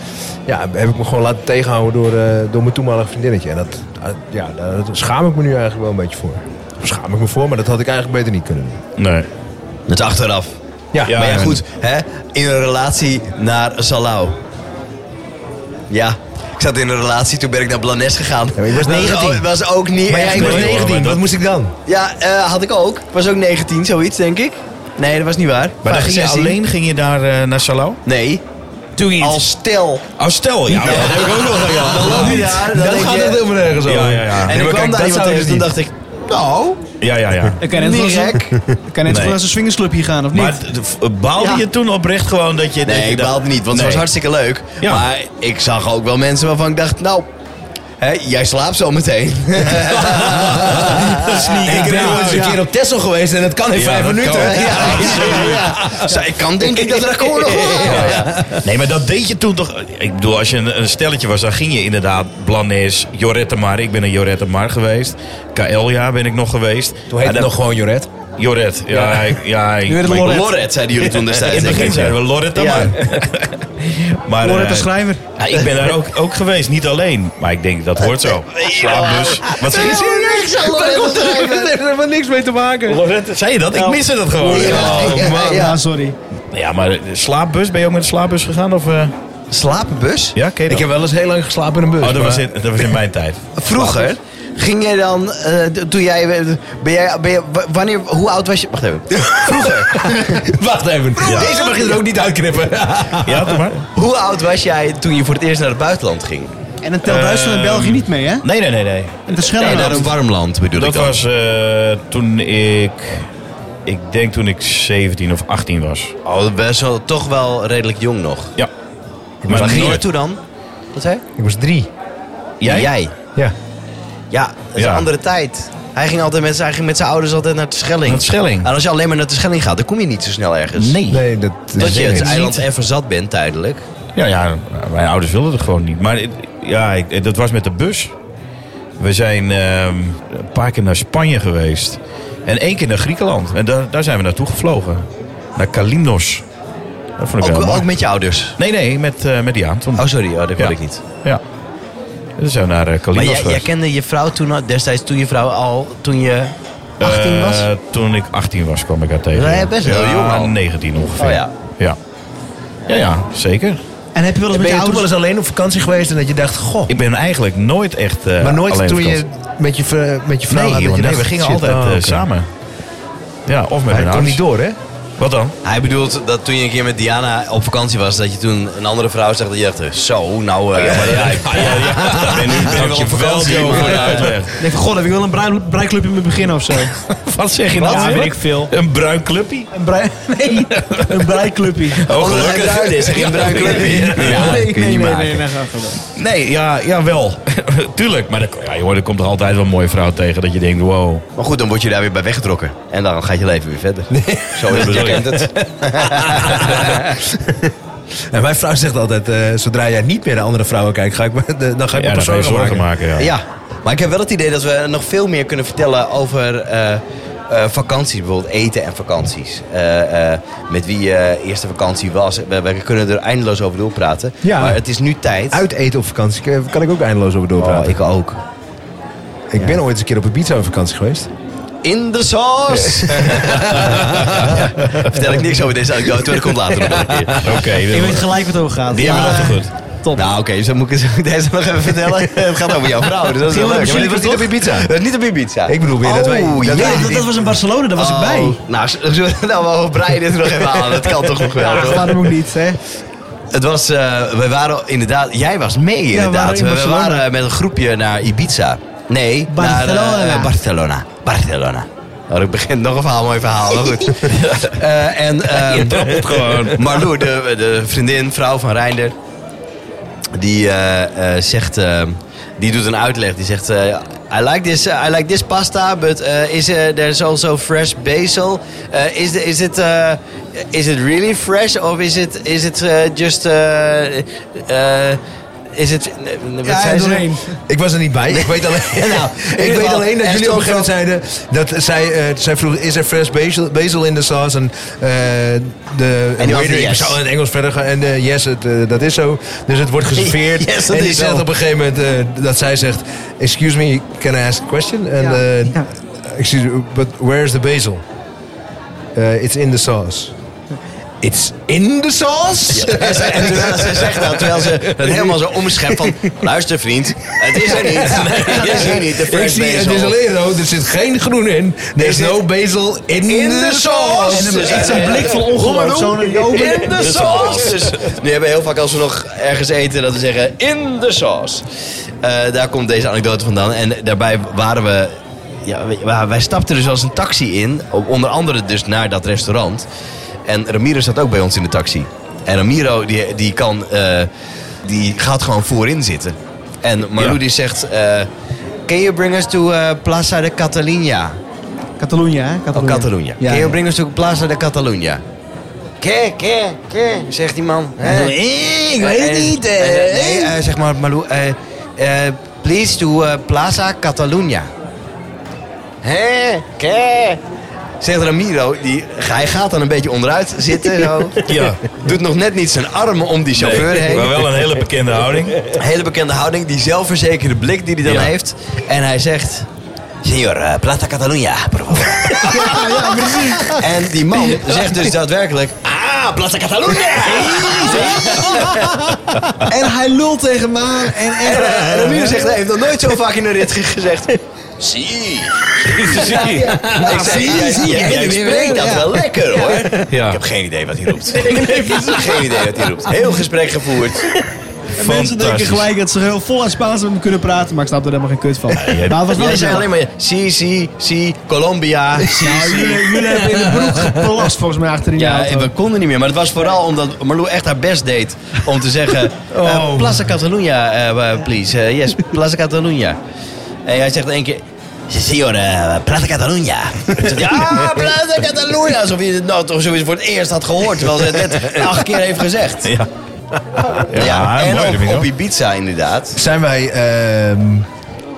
[SPEAKER 4] Ja, heb ik me gewoon laten tegenhouden door, eh, door mijn toenmalig vriendinnetje. En dat, ah, ja, daar schaam ik me nu eigenlijk wel een beetje voor. Daar schaam ik me voor, maar dat had ik eigenlijk beter niet kunnen doen.
[SPEAKER 5] nee.
[SPEAKER 2] Het is achteraf.
[SPEAKER 4] Ja,
[SPEAKER 5] Ja,
[SPEAKER 2] maar ja,
[SPEAKER 5] en-
[SPEAKER 2] goed. Hè? In een relatie naar Salau. Ja. Ik zat in een relatie, toen ben ik naar Blanes gegaan.
[SPEAKER 4] maar je was
[SPEAKER 2] Dat was
[SPEAKER 4] 19.
[SPEAKER 2] ook- was ook niet
[SPEAKER 4] Maar ja,
[SPEAKER 2] echt
[SPEAKER 4] ik was
[SPEAKER 2] leuk.
[SPEAKER 5] nee, hoor,
[SPEAKER 4] 19,
[SPEAKER 5] maar
[SPEAKER 4] wat
[SPEAKER 5] dat-
[SPEAKER 4] moest ik dan?
[SPEAKER 2] Ja, eh, had ik ook. Ik was ook 19, zoiets, denk ik. Nee, dat was niet waar.
[SPEAKER 5] Maar dan ging je
[SPEAKER 2] 16.
[SPEAKER 5] alleen ging je daar eh, naar Salau?
[SPEAKER 2] Nee,
[SPEAKER 5] Toen
[SPEAKER 2] als stel.
[SPEAKER 5] Oh, stel. Ja, dat heb ik ook nog gedaan.
[SPEAKER 2] Dan loop je daar, dan
[SPEAKER 4] Dan
[SPEAKER 2] denk
[SPEAKER 4] gaat
[SPEAKER 2] je...
[SPEAKER 4] het helemaal nergens over.
[SPEAKER 5] Ja, ja, ja.
[SPEAKER 2] En
[SPEAKER 4] Nee,
[SPEAKER 2] ik
[SPEAKER 4] maar
[SPEAKER 2] kwam
[SPEAKER 4] kijk,
[SPEAKER 2] daar
[SPEAKER 4] dat
[SPEAKER 2] zo
[SPEAKER 4] is
[SPEAKER 2] dus toen
[SPEAKER 4] niet.
[SPEAKER 2] dacht ik... Nou,
[SPEAKER 5] Ja, ja, ja.
[SPEAKER 3] Ik kan net
[SPEAKER 2] niet
[SPEAKER 3] zo goed
[SPEAKER 2] gek.
[SPEAKER 5] net zo
[SPEAKER 3] naar
[SPEAKER 5] goed
[SPEAKER 3] een
[SPEAKER 5] naar
[SPEAKER 3] swingersclub hier gaan, of niet?
[SPEAKER 5] Maar d- v- baalde
[SPEAKER 2] Ja.
[SPEAKER 5] je toen oprecht gewoon dat je... dat
[SPEAKER 2] Nee,
[SPEAKER 5] je
[SPEAKER 2] ik
[SPEAKER 5] dacht-
[SPEAKER 2] baalde niet, want het was
[SPEAKER 5] Nee.
[SPEAKER 2] hartstikke leuk.
[SPEAKER 5] Ja.
[SPEAKER 2] Maar ik zag ook wel mensen waarvan ik dacht... Nou, hè, jij slaapt zo meteen.
[SPEAKER 4] ik ben wel eens een keer op Texel geweest en dat kan in
[SPEAKER 5] Ja,
[SPEAKER 4] vijf
[SPEAKER 5] dat
[SPEAKER 4] minuten.
[SPEAKER 5] kan.
[SPEAKER 2] Ja, ja, ja. Zij kan denk ik dat record nog wel.
[SPEAKER 5] Nee, maar dat deed je toen toch... Ik bedoel, als je een, een stelletje was, dan ging je inderdaad... Blanes, Jorette Mar. Ik ben een Jorette Mar geweest. Kaelja ben ik nog geweest.
[SPEAKER 4] Toen heette
[SPEAKER 5] Ah,
[SPEAKER 4] het
[SPEAKER 5] dat-
[SPEAKER 4] nog gewoon Joret.
[SPEAKER 5] Joret. Ja, ik- ja, ik-
[SPEAKER 3] Nu werd het
[SPEAKER 5] maar ik-
[SPEAKER 3] Lorette.
[SPEAKER 2] Lorette, zeiden jullie toen
[SPEAKER 5] In
[SPEAKER 2] destijds.
[SPEAKER 5] het
[SPEAKER 2] denk
[SPEAKER 5] begin
[SPEAKER 2] ik.
[SPEAKER 5] zeiden we Lorette dan
[SPEAKER 3] *laughs*
[SPEAKER 2] Ja.
[SPEAKER 5] maar. maar
[SPEAKER 3] Lorette de
[SPEAKER 5] eh,
[SPEAKER 3] schrijver.
[SPEAKER 5] ja, ik ben daar ook, ook geweest, niet alleen. Maar ik denk, dat hoort zo. Slaapbus. Wat zei je?
[SPEAKER 2] niks aan Lorette
[SPEAKER 3] *laughs*
[SPEAKER 2] schrijven.
[SPEAKER 4] heeft er helemaal niks mee te maken.
[SPEAKER 5] Lorette, zei je dat? Ik miste dat gewoon. Oh, man.
[SPEAKER 3] *laughs* Ja, sorry.
[SPEAKER 5] Ja, maar eh, slaapbus, ben je ook met de slaapbus gegaan? Of, eh?
[SPEAKER 2] Slapenbus?
[SPEAKER 5] Ja, ken je dat?
[SPEAKER 4] Ik heb wel eens heel lang geslapen in een bus.
[SPEAKER 5] Oh, dat
[SPEAKER 4] maar-
[SPEAKER 5] was, in, dat was in mijn tijd.
[SPEAKER 2] Vroeger ging jij dan, eh, d- toen jij, ben jij, ben jij, w- wanneer, hoe oud was je? Wacht even.
[SPEAKER 4] Wacht even. Deze mag je er ook niet uitknippen.
[SPEAKER 5] Ja, doe maar.
[SPEAKER 2] Hoe oud was jij toen je voor het eerst naar het buitenland ging?
[SPEAKER 3] En dan telt Duitsland en België niet mee, hè?
[SPEAKER 5] Nee, nee, nee, nee.
[SPEAKER 3] En de schellen
[SPEAKER 2] Nee, naar een warm land bedoel ik
[SPEAKER 5] Dat
[SPEAKER 2] dan.
[SPEAKER 5] was eh, toen ik... Ik denk toen ik 17 of 18 was.
[SPEAKER 2] Oh, best wel, toch wel redelijk jong nog.
[SPEAKER 5] Ja.
[SPEAKER 2] Maar waar ging je
[SPEAKER 5] nooit-
[SPEAKER 2] naartoe dan? Wat zei je?
[SPEAKER 4] Ik was drie.
[SPEAKER 5] Jij?
[SPEAKER 2] Jij.
[SPEAKER 4] Ja.
[SPEAKER 2] Ja, dat is
[SPEAKER 5] Ja.
[SPEAKER 2] een andere tijd. Hij ging altijd met, zijn- hij ging met zijn ouders altijd naar de Schelling.
[SPEAKER 5] Naar de Schelling.
[SPEAKER 2] En als je alleen maar naar de Schelling gaat, dan kom je niet zo snel ergens.
[SPEAKER 4] Nee, dat
[SPEAKER 2] Dat je het
[SPEAKER 4] niet.
[SPEAKER 2] eiland even zat bent tijdelijk.
[SPEAKER 5] Ja, ja, mijn ouders wilden het gewoon niet. Maar het- ja, ik- dat was met de bus. We zijn ehm, een paar keer naar Spanje geweest. En één keer naar Griekenland. En daar, daar zijn we naartoe gevlogen. Naar Kalimnos. Dat vond ik wel
[SPEAKER 2] Ook,
[SPEAKER 5] mooi.
[SPEAKER 2] ook met je ouders.
[SPEAKER 5] Nee, nee, met, eh, met die aan toen.
[SPEAKER 2] Oh, sorry, oh, dat weet
[SPEAKER 5] Ja.
[SPEAKER 2] ik niet.
[SPEAKER 5] Ja. Dus zijn we naar eh,
[SPEAKER 2] Maar
[SPEAKER 5] Kalimnos
[SPEAKER 2] jij, jij
[SPEAKER 5] geweest.
[SPEAKER 2] kende je vrouw toen, al- destijds toen je vrouw al, toen je 18 was?
[SPEAKER 5] Eh, toen ik 18 was, kwam ik haar tegen.
[SPEAKER 2] Ja, best wel
[SPEAKER 5] ja,
[SPEAKER 2] jong al.
[SPEAKER 5] 19 ongeveer.
[SPEAKER 2] Oh, ja.
[SPEAKER 5] ja. Ja, ja, zeker.
[SPEAKER 3] En heb je wel eens met
[SPEAKER 4] Ben
[SPEAKER 3] je
[SPEAKER 4] je toen
[SPEAKER 3] ouders...
[SPEAKER 4] wel eens alleen op vakantie geweest en dat je dacht, goh.
[SPEAKER 5] Ik ben eigenlijk nooit echt eh,
[SPEAKER 4] maar nooit
[SPEAKER 5] alleen
[SPEAKER 4] toen
[SPEAKER 5] op
[SPEAKER 4] je
[SPEAKER 5] vakantie.
[SPEAKER 4] met je, ver- met je vrouw
[SPEAKER 5] Nee,
[SPEAKER 4] had dat
[SPEAKER 5] joh,
[SPEAKER 4] je
[SPEAKER 5] nee,
[SPEAKER 4] dacht,
[SPEAKER 5] we gingen
[SPEAKER 4] shit,
[SPEAKER 5] altijd
[SPEAKER 4] oh,
[SPEAKER 5] eh,
[SPEAKER 4] oké.
[SPEAKER 5] samen. Ja, of met
[SPEAKER 4] Hij
[SPEAKER 5] mijn
[SPEAKER 4] komt niet
[SPEAKER 5] ouders.
[SPEAKER 4] door, hè?
[SPEAKER 5] Wat dan?
[SPEAKER 2] Hij bedoelt dat toen je een keer met Diana op vakantie was, dat je toen een andere vrouw zag dat je dacht, zo, nou... eh, ja, ik-
[SPEAKER 5] Ah, ja, ja. Ik ben nu ben
[SPEAKER 2] Dank je
[SPEAKER 5] je
[SPEAKER 2] wel,
[SPEAKER 5] wel
[SPEAKER 2] Timo.
[SPEAKER 5] voor de uitleg.
[SPEAKER 3] Ik denk van, god, heb ik wil een bruin, bruin clubje met beginnen of zo.
[SPEAKER 5] Wat zeg je nou?
[SPEAKER 3] Ja,
[SPEAKER 5] Timo?
[SPEAKER 3] weet ik veel.
[SPEAKER 5] Een bruin clubje?
[SPEAKER 3] Een bruin, nee, een bruin clubje.
[SPEAKER 5] Oh,
[SPEAKER 2] Omdat hij bruin is, geen bruin clubje. Ja, dat kun je niet maken.
[SPEAKER 3] nee, nee, nee, nee, nee.
[SPEAKER 5] Nee, ja, jawel. *laughs* Tuurlijk. Maar er- ja, joh, er komt er altijd wel een mooie vrouw tegen dat je denkt, wow.
[SPEAKER 2] Maar goed, dan word je daar weer bij weggetrokken. En dan gaat je leven weer verder. Zo is het.
[SPEAKER 5] bedoel
[SPEAKER 2] Je
[SPEAKER 5] ik.
[SPEAKER 2] kent het.
[SPEAKER 4] En mijn vrouw zegt altijd, eh, zodra jij niet meer naar andere vrouwen kijkt, ga ik me, de- dan ga ik
[SPEAKER 5] Ja,
[SPEAKER 4] me
[SPEAKER 5] daar ga je
[SPEAKER 4] persoonlijk
[SPEAKER 5] zorgen
[SPEAKER 4] maken.
[SPEAKER 5] maken. ja.
[SPEAKER 2] Ja, maar ik heb wel het idee dat we nog veel meer kunnen vertellen over eh, eh, vakanties. Bijvoorbeeld eten en vakanties. Eh, eh, met wie je eerste vakantie was. We, we kunnen er eindeloos over doorpraten.
[SPEAKER 4] Ja.
[SPEAKER 2] Maar het is nu tijd.
[SPEAKER 4] Uit eten op vakantie kan- kan ik ook eindeloos over
[SPEAKER 2] Oh,
[SPEAKER 4] doorpraten.
[SPEAKER 2] ik ook.
[SPEAKER 4] ik ben ooit eens een keer op Ibiza op vakantie geweest.
[SPEAKER 2] In de sauce! Ja, *laughs* Vertel ik niks over deze anekdote, dat komt later nog wel een keer.
[SPEAKER 5] Oké, *laughs*
[SPEAKER 3] Ik weet
[SPEAKER 5] dat-
[SPEAKER 3] gelijk wat het over gaat.
[SPEAKER 5] die hebben we
[SPEAKER 3] Maar,
[SPEAKER 5] altijd goed.
[SPEAKER 3] Top.
[SPEAKER 2] Nou, oké, dus dan moet ik het- *laughs* deze nog even vertellen. Het gaat over jouw vrouw, dus dat is wel leuk.
[SPEAKER 4] Ja, maar dit was niet op Ibiza.
[SPEAKER 2] Dat is niet op Ibiza.
[SPEAKER 4] Ik bedoel weer dat wij...
[SPEAKER 2] Oh,
[SPEAKER 4] dat
[SPEAKER 2] ja,
[SPEAKER 4] wij-
[SPEAKER 3] Ja, dat, dat was in Barcelona, daar was ik bij.
[SPEAKER 2] Oh, Nou, z- *laughs* zullen we nou wel breien dit nog even aan? Dat kan toch nog wel,
[SPEAKER 3] Ja,
[SPEAKER 2] hoor.
[SPEAKER 3] waarom ook niet, hè?
[SPEAKER 2] Het was, eh, we waren inderdaad, jij was mee
[SPEAKER 3] we
[SPEAKER 2] inderdaad.
[SPEAKER 3] waren in
[SPEAKER 2] we, we
[SPEAKER 3] Barcelona.
[SPEAKER 2] waren met een groepje naar Ibiza. Nee, naar eh,
[SPEAKER 3] Barcelona.
[SPEAKER 2] Barcelona. Barcelona. Nou, ik begin nog een verhaal, mooi verhaal, maar *laughs* goed. Eh, en ehm,
[SPEAKER 5] Trappelt gewoon.
[SPEAKER 2] Marlou, de, de vriendin, vrouw van Reinder, die eh, eh, zegt, ehm, die doet een uitleg. Die zegt, eh, I like this, eh, I like this pasta, but eh, is eh, there's also fresh basil? Eh, is, the- is it eh, is it really fresh of is it is it eh, just eh, eh, is it? wat
[SPEAKER 4] Ja,
[SPEAKER 2] zei ze?
[SPEAKER 4] doorheen. Ik was er niet bij. Ik
[SPEAKER 2] *laughs*
[SPEAKER 4] weet alleen,
[SPEAKER 2] Nou, in
[SPEAKER 4] ik
[SPEAKER 2] ieder
[SPEAKER 4] weet
[SPEAKER 2] geval,
[SPEAKER 4] alleen dat
[SPEAKER 2] er
[SPEAKER 4] jullie op een
[SPEAKER 2] stond
[SPEAKER 4] gegeven moment zeiden... dat zij, eh, zij vroeg, is er fresh basil, basil in de sauce? En eh, de
[SPEAKER 2] En die
[SPEAKER 4] waiter,
[SPEAKER 2] antwoordde
[SPEAKER 4] ik
[SPEAKER 2] yes.
[SPEAKER 4] zou in het Engels verder gaan. En eh, yes, het, eh, dat is zo. Dus het wordt geserveerd.
[SPEAKER 2] *laughs* Yes, dat
[SPEAKER 4] en die
[SPEAKER 2] is
[SPEAKER 4] zegt
[SPEAKER 2] zo.
[SPEAKER 4] op een gegeven moment eh, dat zij zegt... Excuse me, can I ask a question? En
[SPEAKER 3] Ja.
[SPEAKER 4] eh,
[SPEAKER 3] Ja.
[SPEAKER 4] excuse me, but where is the basil? Eh, it's in the sauce. It's in the sauce?
[SPEAKER 2] En ze- en *laughs* terwijl ze zegt dat, terwijl ze het helemaal zo omschept van... Luister vriend, het is
[SPEAKER 4] *laughs*
[SPEAKER 2] er niet. Nee, het is er niet, de
[SPEAKER 4] Ik
[SPEAKER 2] fresh
[SPEAKER 4] zie, het
[SPEAKER 2] basil.
[SPEAKER 4] is alleen rood, er zit geen groen in. There's
[SPEAKER 2] zit-
[SPEAKER 4] no basil in,
[SPEAKER 2] In
[SPEAKER 4] the
[SPEAKER 2] de
[SPEAKER 4] sauce.
[SPEAKER 2] sauce. Eh,
[SPEAKER 3] En dan echt zo'n blik van ongeloof. Zo'n
[SPEAKER 2] In de sauce! *laughs* Dus nu hebben we heel vaak als we nog ergens eten dat we zeggen in de sauce. Eh, daar komt deze anekdote vandaan. En daarbij waren we... Ja, we- wij- wij stapten dus als een taxi in. o- Onder andere dus naar dat restaurant. En Ramiro zat ook bij ons in de taxi. En Ramiro die, die kan... eh, die gaat gewoon voorin zitten. En Marou
[SPEAKER 5] Ja.
[SPEAKER 2] die zegt... eh, Can you bring us to eh, Plaza de Catalina?
[SPEAKER 3] Catalunya, hè?
[SPEAKER 2] Op Catalunya.
[SPEAKER 3] Ja,
[SPEAKER 2] Can you
[SPEAKER 3] ja.
[SPEAKER 2] bring us to Plaza de Catalunya? Que, que, que, zegt die man. hè?
[SPEAKER 3] Nee, ik
[SPEAKER 2] Eh, eh, nee, eh, zeg maar, Malou, eh, eh, please to eh, Plaza Catalunya. Hé, que. Zegt Ramiro, die, hij gaat dan een beetje onderuit zitten.
[SPEAKER 3] *laughs*
[SPEAKER 2] Zo.
[SPEAKER 5] Ja.
[SPEAKER 2] Doet nog net niet zijn armen om die chauffeur heen.
[SPEAKER 5] Maar wel een hele bekende *laughs* houding.
[SPEAKER 2] Een hele bekende houding, die zelfverzekerde blik die hij dan
[SPEAKER 5] Ja.
[SPEAKER 2] heeft. En hij zegt... Senor, eh, Plaza Catalunya, por
[SPEAKER 5] *laughs*
[SPEAKER 2] favor. En die man zegt dus daadwerkelijk... Ah, Plaza Catalunya!
[SPEAKER 3] En hij lult tegen me aan. En,
[SPEAKER 2] En,
[SPEAKER 3] en,
[SPEAKER 2] eh, en Ramiro zegt, hij heeft nog nooit zo vaak in een rit ge- gezegd... Zie. *laughs* Ik zei, jij, jij- jij spreekt dat wel lekker hoor.
[SPEAKER 5] Ja.
[SPEAKER 2] Ik heb geen idee wat hij roept.
[SPEAKER 5] *laughs*
[SPEAKER 2] Geen idee wat hij roept. Heel gesprek gevoerd.
[SPEAKER 3] mensen denken
[SPEAKER 5] Fantastisch.
[SPEAKER 3] gelijk dat ze heel vol aan Spaans met me kunnen praten, maar ik snap er helemaal geen kut van.
[SPEAKER 5] jij-
[SPEAKER 3] maar het was wel
[SPEAKER 2] Jullie zijn
[SPEAKER 3] gezellig.
[SPEAKER 2] alleen maar... Si, si, si, Colombia, si,
[SPEAKER 3] Nou,
[SPEAKER 2] si.
[SPEAKER 3] jullie, jullie hebben in de broek geplast volgens mij achterin je
[SPEAKER 2] Ja,
[SPEAKER 3] auto.
[SPEAKER 2] we konden niet meer. Maar het was vooral omdat Marlou echt haar best deed om te
[SPEAKER 5] *laughs*
[SPEAKER 2] zeggen...
[SPEAKER 5] Oh.
[SPEAKER 2] eh Plaza Catalunya, eh, eh, please. Eh, yes, Plaza Catalunya. En hij zegt één keer... Senor, eh, Plaza
[SPEAKER 5] *laughs*
[SPEAKER 2] Catalunya. Ik zeg, Ja, Plaza Catalunya. Alsof je het nou toch sowieso voor het eerst had gehoord. Terwijl ze het
[SPEAKER 5] *laughs*
[SPEAKER 2] net acht keer heeft gezegd.
[SPEAKER 5] Ja. Ja,
[SPEAKER 2] en
[SPEAKER 5] mooi,
[SPEAKER 2] ook
[SPEAKER 5] Domino.
[SPEAKER 2] op Ibiza inderdaad.
[SPEAKER 4] Zijn wij... ehm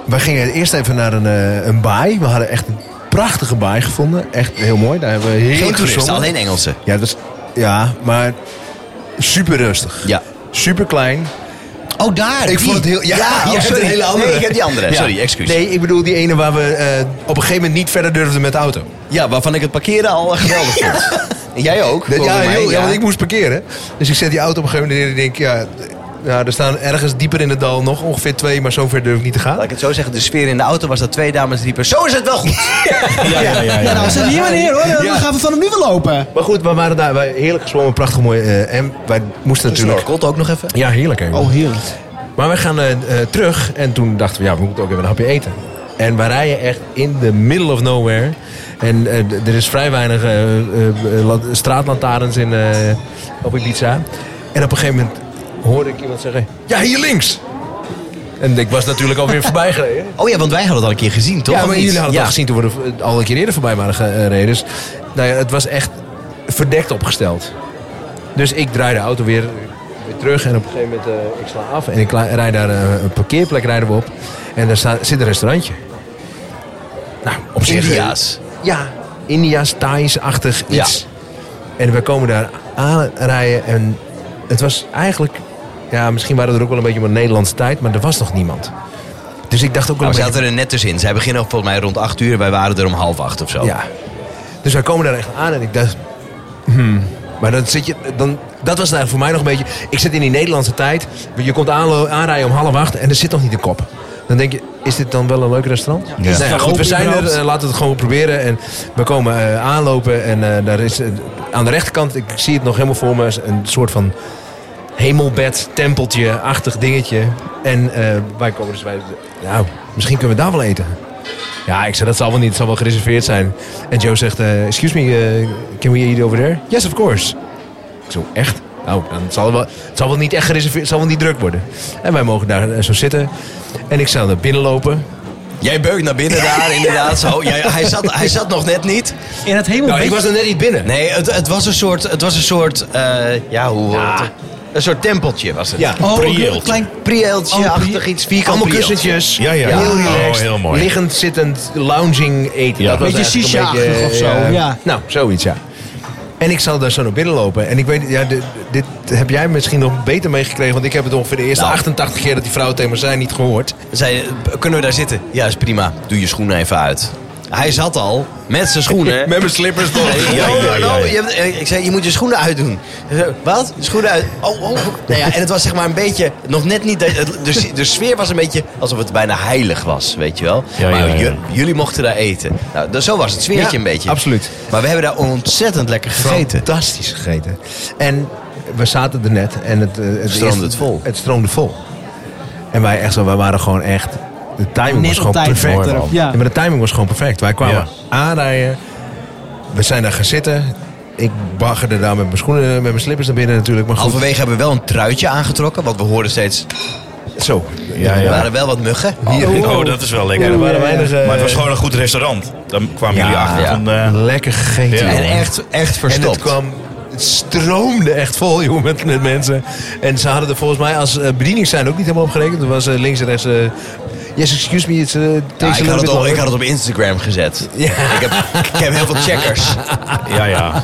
[SPEAKER 4] wij gingen eerst even naar een, eh, een baai. We hadden echt een prachtige baai gevonden. Echt heel mooi. Daar hebben we heel
[SPEAKER 2] Geen toeristen,
[SPEAKER 4] gezongen.
[SPEAKER 2] alleen Engelsen.
[SPEAKER 4] Ja, dat is, ja, maar super rustig.
[SPEAKER 2] Ja.
[SPEAKER 4] Super klein.
[SPEAKER 2] Oh, daar.
[SPEAKER 4] Ik vond het heel...
[SPEAKER 2] ja,
[SPEAKER 4] Ja, jij
[SPEAKER 2] oh,
[SPEAKER 4] hebt
[SPEAKER 2] sorry.
[SPEAKER 4] een hele andere.
[SPEAKER 2] Nee, ik heb die andere.
[SPEAKER 4] Ja.
[SPEAKER 2] Sorry, excuus.
[SPEAKER 4] Nee, ik bedoel die ene waar we eh, op een gegeven moment niet verder durfden met de auto.
[SPEAKER 2] Ja, waarvan ik het parkeren al eh, geweldig vond.
[SPEAKER 5] *laughs*
[SPEAKER 2] En Jij ook?
[SPEAKER 4] Dat-
[SPEAKER 2] volgens
[SPEAKER 4] ja,
[SPEAKER 2] mij,
[SPEAKER 4] heel, ja. want ik moest parkeren. Dus ik zet die auto op een gegeven moment neer en ik denk, ja, Nou, er staan ergens dieper in het dal nog ongeveer twee, maar zover durf ik niet te gaan.
[SPEAKER 2] Laat ik het zo zeggen, de sfeer in de auto was dat twee dames riepen... Zo is het wel
[SPEAKER 4] *laughs*
[SPEAKER 2] goed!
[SPEAKER 5] Ja, ja, ja.
[SPEAKER 3] Ja, nou, zet hier maar neer hoor. Dan gaan we vanaf nu wel lopen.
[SPEAKER 4] Maar goed, we waren daar. Wij, heerlijk gezwommen, prachtig mooi. eh, en wij moesten natuurlijk...
[SPEAKER 2] Snorkelt ook nog even.
[SPEAKER 4] Ja, heerlijk. hè.
[SPEAKER 3] Oh, heerlijk.
[SPEAKER 4] Maar wij gaan eh, eh, terug en toen dachten we, ja, we moeten ook even een hapje eten. En wij rijden echt in the middle of nowhere. En eh, d- er is vrij weinig eh, eh, la- straatlantaarns in, eh, op Ibiza. En op een gegeven moment hoorde ik iemand zeggen, ja, hier links! En ik was natuurlijk alweer voorbij gereden.
[SPEAKER 2] Oh ja, want wij hadden het al een keer gezien, toch?
[SPEAKER 4] Ja,
[SPEAKER 2] Of
[SPEAKER 4] maar
[SPEAKER 2] niet?
[SPEAKER 4] jullie hadden het
[SPEAKER 2] Ja.
[SPEAKER 4] al gezien toen we er eh, al een keer eerder voorbij waren gereden. Dus nou ja, het was echt verdekt opgesteld. Dus ik draai de auto weer, weer terug en op een gegeven moment eh, ik sla af. En ik la- rijd daar eh, een parkeerplek rijden we op. En daar staat, zit een restaurantje. Nou, op zich... eh,
[SPEAKER 2] India's.
[SPEAKER 4] Ja, India's, Thais-achtig iets. En we komen daar aanrijden en het was eigenlijk... Ja, misschien waren er ook wel een beetje op een Nederlandse tijd, maar er was nog niemand. Dus ik dacht ook wel
[SPEAKER 2] Nou,
[SPEAKER 4] een
[SPEAKER 2] we
[SPEAKER 4] beetje...
[SPEAKER 2] zaten er net tussenin. Zij beginnen ook volgens mij rond 8 uur en wij waren er om half acht of zo.
[SPEAKER 4] Ja. Dus wij komen daar echt aan en ik dacht... hmm. Maar dan zit je, dan, dat was nou voor mij nog een beetje... Ik zit in die Nederlandse tijd. Je komt aanlo- aanrijden om half acht en er zit nog niet een kop. Dan denk je, is dit dan wel een leuk restaurant? Ja. Nou ja, goed, we zijn er. eh, Laten we het gewoon proberen. En we komen eh, aanlopen en eh, daar is... eh, aan de rechterkant, ik zie het nog helemaal voor me... een soort van hemelbed, tempeltje, achtig dingetje. En eh, wij komen dus bij... Nou, misschien kunnen we daar wel eten. Ja, ik zei dat zal wel niet. Het zal wel gereserveerd zijn. En Joe zegt, eh, excuse me, eh, can we eat over there? Yes, of course. Ik zo, echt? Nou, dan zal het wel, het zal wel niet echt gereserveerd, het zal wel niet druk worden. En wij mogen daar eh, zo zitten. En ik zou naar binnen lopen.
[SPEAKER 2] Jij beukt naar binnen daar, inderdaad. Zo. Jij- hij, zat, hij zat nog net niet.
[SPEAKER 3] In het hemel.
[SPEAKER 4] Nou, ik was er net niet binnen.
[SPEAKER 2] Nee, het, het was een soort... Het was een soort eh, ja, hoe... het- een soort tempeltje was het.
[SPEAKER 4] Ja.
[SPEAKER 3] Oh,
[SPEAKER 5] Priëelt.
[SPEAKER 3] een klein... Oh,
[SPEAKER 2] Prieeltje-achtig
[SPEAKER 3] pri-
[SPEAKER 2] iets. Vierkant
[SPEAKER 4] Allemaal
[SPEAKER 2] priëeltje.
[SPEAKER 4] kussentjes.
[SPEAKER 5] Ja, ja.
[SPEAKER 4] Heel
[SPEAKER 5] Ja.
[SPEAKER 4] relaxed.
[SPEAKER 5] Oh, heel mooi.
[SPEAKER 4] Liggend, zittend, lounging eten.
[SPEAKER 5] Ja.
[SPEAKER 4] Dat was
[SPEAKER 3] Beetje
[SPEAKER 4] eigenlijk een
[SPEAKER 3] shisha-achtig
[SPEAKER 4] beetje,
[SPEAKER 3] of zo,
[SPEAKER 4] eh,
[SPEAKER 3] ja.
[SPEAKER 4] Nou, zoiets, ja. En ik zal daar zo naar binnen lopen. En ik weet, ja, dit, dit heb jij misschien nog beter meegekregen. Want ik heb het ongeveer de eerste
[SPEAKER 2] Nou.
[SPEAKER 4] 88 keer dat die vrouwen tegen me zijn niet gehoord.
[SPEAKER 2] Zei, kunnen we daar zitten? Ja, is prima. Doe je schoenen even uit. Hij zat al met zijn schoenen.
[SPEAKER 4] *laughs* Met mijn slippers nog.
[SPEAKER 2] Nee,
[SPEAKER 5] Ja,
[SPEAKER 2] no,
[SPEAKER 5] ja,
[SPEAKER 2] no,
[SPEAKER 5] ja,
[SPEAKER 2] no.
[SPEAKER 5] ja.
[SPEAKER 2] Je hebt- eh, Ik zei, je moet je schoenen uitdoen. Hij zei, Wat? Je Schoenen uit? Oh, oh. Nou ja, en het was zeg maar een beetje, nog net niet, dat- het- de, de sfeer was een beetje alsof het bijna heilig was, weet je wel.
[SPEAKER 5] Ja,
[SPEAKER 2] maar
[SPEAKER 5] ja, ja.
[SPEAKER 2] ju- jullie mochten daar eten. Nou, dat- zo was het sfeertje
[SPEAKER 4] Ja,
[SPEAKER 2] een beetje.
[SPEAKER 4] absoluut.
[SPEAKER 2] Maar we hebben daar ontzettend lekker gegeten.
[SPEAKER 4] Fantastisch gegeten. En we zaten er net en het, eh, het
[SPEAKER 2] Stroomde
[SPEAKER 4] eerste-
[SPEAKER 2] het vol.
[SPEAKER 4] Het stroomde vol. En wij echt zo, wij waren gewoon echt. De timing
[SPEAKER 3] Net
[SPEAKER 4] was
[SPEAKER 3] op
[SPEAKER 4] gewoon
[SPEAKER 3] tijd.
[SPEAKER 4] perfect.
[SPEAKER 3] Mooi, man. Ja.
[SPEAKER 4] maar de timing was gewoon perfect. Wij kwamen
[SPEAKER 5] Ja.
[SPEAKER 4] aanrijden. We zijn daar gaan zitten. Ik baggerde daar met mijn schoenen, met mijn slippers naar binnen natuurlijk. Maar goed,
[SPEAKER 2] Halverwege hebben we wel een truitje aangetrokken, want we hoorden steeds,
[SPEAKER 4] zo.
[SPEAKER 5] Ja,
[SPEAKER 2] er
[SPEAKER 5] ja.
[SPEAKER 2] waren wel wat muggen.
[SPEAKER 4] Hier.
[SPEAKER 5] Oh, dat is wel lekker.
[SPEAKER 4] er waren weinig, eh,
[SPEAKER 5] Maar het was gewoon een goed restaurant. Dan kwamen
[SPEAKER 4] Ja,
[SPEAKER 5] jullie achter
[SPEAKER 2] ja.
[SPEAKER 5] van... eh,
[SPEAKER 4] Lekker gegeten.
[SPEAKER 5] Ja.
[SPEAKER 4] jongen.
[SPEAKER 2] En echt, echt
[SPEAKER 4] En het
[SPEAKER 2] verstopt.
[SPEAKER 4] kwam, het stroomde echt vol, *laughs* jongen, met, met mensen. En ze hadden er volgens mij als eh, bediening zijn ook niet helemaal op gerekend. Er was eh, links en rechts... eh, yes, excuse me, it's uh,
[SPEAKER 2] Ja,
[SPEAKER 4] takes
[SPEAKER 2] ik,
[SPEAKER 4] a
[SPEAKER 2] had
[SPEAKER 4] little
[SPEAKER 2] het op,
[SPEAKER 4] bit
[SPEAKER 2] ik
[SPEAKER 4] longer.
[SPEAKER 2] had het op Instagram gezet. Ik, heb, ik heb heel veel checkers.
[SPEAKER 5] ja, ja.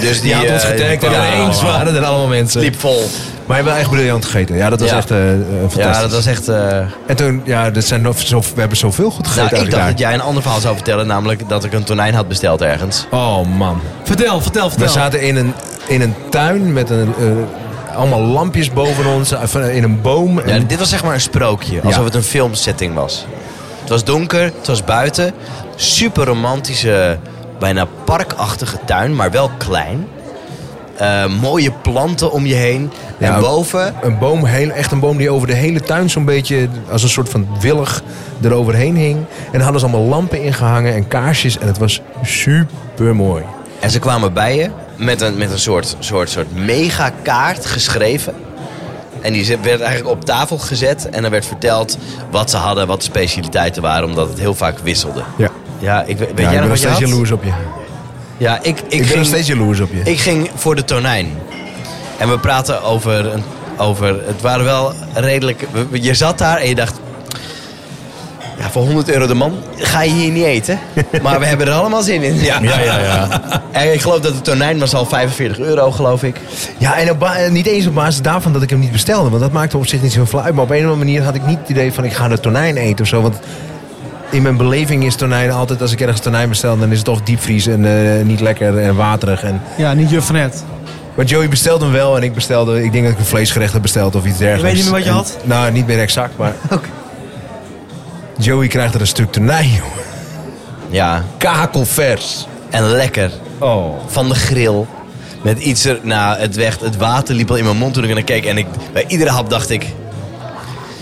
[SPEAKER 2] Dus die,
[SPEAKER 4] Die had ons
[SPEAKER 2] eh, die
[SPEAKER 4] getagd en
[SPEAKER 2] kwamen
[SPEAKER 4] ineens
[SPEAKER 2] allemaal.
[SPEAKER 4] waren er allemaal mensen.
[SPEAKER 2] Liep vol.
[SPEAKER 4] Maar we hebben echt briljant gegeten. Ja, dat was
[SPEAKER 2] Ja.
[SPEAKER 4] echt eh, eh, fantastisch.
[SPEAKER 2] Ja, dat was echt... eh,
[SPEAKER 4] En toen, ja, dat zijn nog zo, we hebben zoveel goed gegeten
[SPEAKER 2] Nou, ik dacht dat
[SPEAKER 4] eigenlijk
[SPEAKER 2] jij een ander verhaal zou vertellen, namelijk dat ik een tonijn had besteld ergens.
[SPEAKER 4] daar. Oh man.
[SPEAKER 3] Vertel, vertel,
[SPEAKER 4] We
[SPEAKER 3] vertel.
[SPEAKER 4] zaten in een, in een tuin met een, eh, allemaal lampjes boven ons, eh, van- in een boom.
[SPEAKER 2] Ja,
[SPEAKER 4] En-
[SPEAKER 2] dit was zeg maar een sprookje, alsof
[SPEAKER 4] Ja.
[SPEAKER 2] het een filmsetting was. Het was donker, het was buiten, super romantische, bijna parkachtige tuin, maar wel klein. Eh, mooie planten om je heen.
[SPEAKER 4] Ja,
[SPEAKER 2] en boven,
[SPEAKER 4] Een boom, heel, echt een boom die over de hele tuin zo'n beetje als een soort van willig eroverheen hing. En daar hadden ze allemaal lampen ingehangen en kaarsjes. En het was super mooi.
[SPEAKER 2] en ze kwamen bij je met een, met een soort, soort, soort megakaart geschreven. En die zet- werd eigenlijk op tafel gezet en er werd verteld wat ze hadden, wat de specialiteiten waren, omdat het heel vaak wisselde.
[SPEAKER 4] Ja.
[SPEAKER 2] Ja, ik, weet weet
[SPEAKER 4] ik
[SPEAKER 2] jij
[SPEAKER 4] ben
[SPEAKER 2] nog
[SPEAKER 4] nog
[SPEAKER 2] wat je
[SPEAKER 4] steeds
[SPEAKER 2] had?
[SPEAKER 4] jaloers op je.
[SPEAKER 2] Ja, ik, ik,
[SPEAKER 4] Ik, ben
[SPEAKER 2] ging,
[SPEAKER 4] nog steeds jaloers op je.
[SPEAKER 2] ik ging voor de tonijn. En we praten over, een, over het waren wel redelijk... we- we- Je zat daar en je dacht... Ja, voor 100 euro de man ga je hier niet eten. Maar we hebben er allemaal zin in.
[SPEAKER 5] Ja, ja,
[SPEAKER 2] *laughs*
[SPEAKER 5] ja.
[SPEAKER 2] En ik geloof dat de tonijn was al 45 euro, geloof ik.
[SPEAKER 4] Ja, en op ba- eh, niet eens op basis daarvan dat ik hem niet bestelde. Want dat maakte op zich niet zoveel uit. Maar op een of andere manier had ik niet het idee van ik ga de tonijn eten of zo. Want in mijn beleving is tonijn altijd, als ik ergens tonijn bestel, dan is het of diepvries en eh, niet lekker en waterig. En
[SPEAKER 3] Ja, niet juf van het.
[SPEAKER 4] Maar Joey bestelde hem wel en ik bestelde... Ik denk dat ik een vleesgerecht heb besteld of iets dergelijks.
[SPEAKER 3] niet meer wat je
[SPEAKER 4] En-
[SPEAKER 3] had?
[SPEAKER 4] nou, niet meer exact,
[SPEAKER 3] *laughs*
[SPEAKER 4] maar... Joey krijgt er een stuk tonijn, *laughs* jongen.
[SPEAKER 2] Ja,
[SPEAKER 4] Kakelvers.
[SPEAKER 2] en lekker.
[SPEAKER 4] Oh.
[SPEAKER 2] Van de grill. Met iets er... Nou, het, werd, het water liep al in mijn mond toen ik naar keek. En ik, bij iedere hap dacht ik...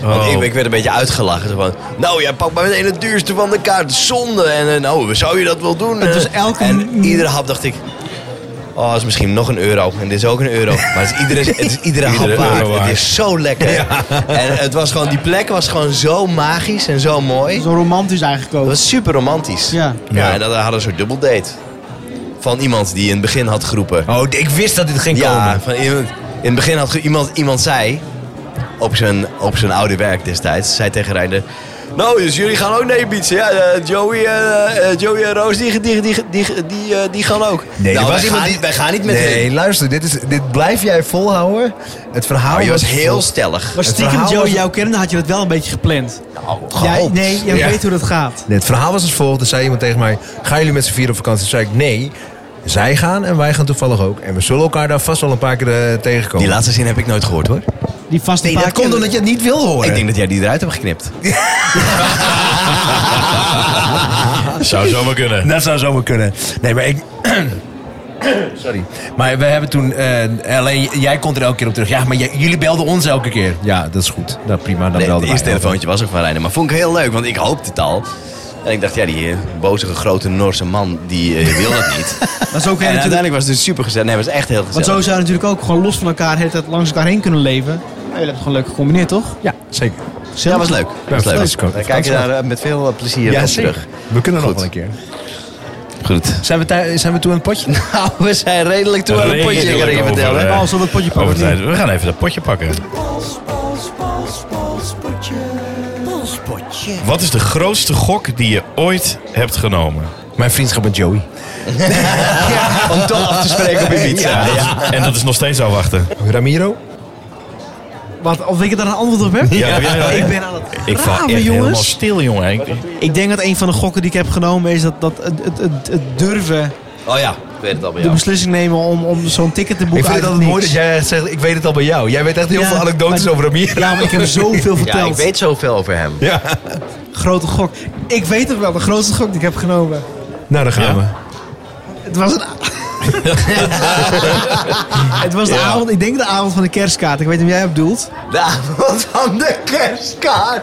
[SPEAKER 5] Oh.
[SPEAKER 2] Want ik, ik werd een beetje uitgelachen. Zo van, nou, jij pakt maar meteen het duurste van de kaart. Zonde. En eh, nou, zou je dat wel doen?
[SPEAKER 3] Het
[SPEAKER 2] eh?
[SPEAKER 3] was elke-
[SPEAKER 2] En iedere hap dacht ik... Oh, dat is misschien nog een euro. En dit is ook een euro. Maar het is iedere, het is iedere hap
[SPEAKER 5] Iedere
[SPEAKER 2] waard.
[SPEAKER 5] euro waard.
[SPEAKER 2] Het is zo lekker. En het was gewoon, die plek was gewoon zo magisch en zo mooi.
[SPEAKER 3] Zo romantisch eigenlijk ook.
[SPEAKER 2] Dat was super romantisch.
[SPEAKER 3] Ja.
[SPEAKER 2] ja en dat we hadden een soort dubbeldate. Van iemand die in het begin had geroepen.
[SPEAKER 4] Oh, ik wist dat dit ging
[SPEAKER 2] ja,
[SPEAKER 4] komen.
[SPEAKER 2] van iemand, in het begin had ge- iemand, iemand zei, op zijn, op zijn oude werk destijds, zei tegen Reinder... Nou, dus jullie gaan ook nee bieden. Ja, eh, Joey, eh, eh, Joey en Roos, die, die, die, die, die, eh, die gaan ook.
[SPEAKER 4] er
[SPEAKER 2] nou,
[SPEAKER 4] was
[SPEAKER 2] wij,
[SPEAKER 4] iemand
[SPEAKER 2] gaan,
[SPEAKER 4] die-
[SPEAKER 2] wij gaan niet met
[SPEAKER 4] nee,
[SPEAKER 2] hen.
[SPEAKER 4] luister, dit, is, dit blijf jij volhouden. Het verhaal
[SPEAKER 2] Maar Oh, je was heel
[SPEAKER 4] vol-
[SPEAKER 2] stellig.
[SPEAKER 3] Maar
[SPEAKER 4] Het
[SPEAKER 3] stiekem
[SPEAKER 4] verhaal
[SPEAKER 3] Joey
[SPEAKER 4] was-
[SPEAKER 3] jouw kennende had je dat wel een beetje gepland.
[SPEAKER 4] Gehoopt.
[SPEAKER 3] Jij- nee, jij
[SPEAKER 4] Ja.
[SPEAKER 3] weet hoe dat gaat.
[SPEAKER 4] Nee, Het verhaal was als volgt. Er zei iemand tegen mij, gaan jullie met z'n vier op vakantie? Toen zei ik, nee. Zij gaan en wij gaan toevallig ook. En we zullen elkaar daar vast wel een paar keer eh, tegenkomen.
[SPEAKER 2] Die laatste zin heb ik nooit gehoord, hoor.
[SPEAKER 3] Die vaste
[SPEAKER 4] nee, dat
[SPEAKER 3] paardje-
[SPEAKER 4] komt omdat je het niet wil horen.
[SPEAKER 2] Ik denk dat jij die eruit hebt geknipt.
[SPEAKER 5] Zou zomaar kunnen.
[SPEAKER 4] Dat zou zomaar kunnen. Nee, maar ik... *clears throat* Sorry. Maar we hebben toen... eh, alleen jij komt er elke keer op terug. Ja, maar j- jullie belden ons elke keer. Ja, dat is goed. Nou, prima. Dan
[SPEAKER 2] Nee, het
[SPEAKER 4] belden wij
[SPEAKER 2] eerste telefoontje was ook van Reiner. Maar vond ik heel leuk, want ik hoopte het al. En ik dacht, ja, die eh, bozige grote Noorse man, die eh, wil dat niet.
[SPEAKER 3] Dat is ook
[SPEAKER 2] en
[SPEAKER 3] heel natuurlijk.
[SPEAKER 2] uiteindelijk was het dus super gezellig. Nee, het was echt heel
[SPEAKER 3] Want
[SPEAKER 2] gezellig.
[SPEAKER 3] zo zou je natuurlijk ook gewoon los van elkaar, de hele tijd langs elkaar heen kunnen leven. Nou, jullie hebben het gewoon leuk gecombineerd, toch? Oh,
[SPEAKER 4] Ja, zeker.
[SPEAKER 2] Ja, dat was leuk. Dat was leuk.
[SPEAKER 4] fantastisch.
[SPEAKER 2] We kijken daar eh, met veel eh, plezier
[SPEAKER 4] Ja,
[SPEAKER 2] op
[SPEAKER 4] zeker.
[SPEAKER 2] terug.
[SPEAKER 4] We kunnen nog
[SPEAKER 2] Goed.
[SPEAKER 4] wel een keer.
[SPEAKER 2] Goed.
[SPEAKER 4] Zijn we, thui- zijn we toe aan het potje?
[SPEAKER 2] *laughs* Nou, we zijn redelijk toe aan het potje, kan ik je
[SPEAKER 5] Redelijk
[SPEAKER 2] vertellen.
[SPEAKER 5] over, eh,
[SPEAKER 3] Oh, zullen we het potje pakken?
[SPEAKER 5] over tijd. We gaan even dat potje pakken. Wat is de grootste gok die je ooit hebt genomen?
[SPEAKER 4] Mijn vriendschap met Joey.
[SPEAKER 2] Om toch af te spreken op Ibiza.
[SPEAKER 5] En eh, dat is- En dat is nog steeds afwachten.
[SPEAKER 4] Ramiro?
[SPEAKER 3] Wat, of ik daar een antwoord op heb?
[SPEAKER 5] Ja, heb jij dat?
[SPEAKER 3] Ik ben aan het
[SPEAKER 5] Ik val
[SPEAKER 3] graven,
[SPEAKER 5] echt helemaal
[SPEAKER 3] jongens.
[SPEAKER 5] stil, jongen. Ik-
[SPEAKER 3] Ik denk dat een van de gokken die ik heb genomen is dat, dat het, het, het, het durven,
[SPEAKER 2] Oh ja, ik weet het al bij
[SPEAKER 3] de
[SPEAKER 2] jou.
[SPEAKER 3] beslissing nemen om, om zo'n ticket te boeken
[SPEAKER 4] Ik vind
[SPEAKER 3] uit
[SPEAKER 4] het
[SPEAKER 3] het
[SPEAKER 4] altijd mooi dat
[SPEAKER 3] niks.
[SPEAKER 4] jij echt zegt, ik weet het al bij jou. Jij weet echt heel
[SPEAKER 3] Ja,
[SPEAKER 4] veel anekdotes
[SPEAKER 3] maar-
[SPEAKER 4] over Ramiro.
[SPEAKER 3] Ja, maar ik heb
[SPEAKER 4] *laughs*
[SPEAKER 3] zoveel
[SPEAKER 2] Ja, ik
[SPEAKER 3] verteld.
[SPEAKER 2] weet zoveel over hem. *laughs*
[SPEAKER 4] Ja.
[SPEAKER 3] Grote gok. Ik weet het wel, de grootste gok die ik heb genomen.
[SPEAKER 4] Nou, daar gaan
[SPEAKER 5] Ja.
[SPEAKER 4] we.
[SPEAKER 3] Het was een...
[SPEAKER 2] *laughs*
[SPEAKER 3] het was de avond, ik denk de avond van de kerstkaart. Ik weet niet of jij het bedoelt.
[SPEAKER 2] De avond van de kerstkaart.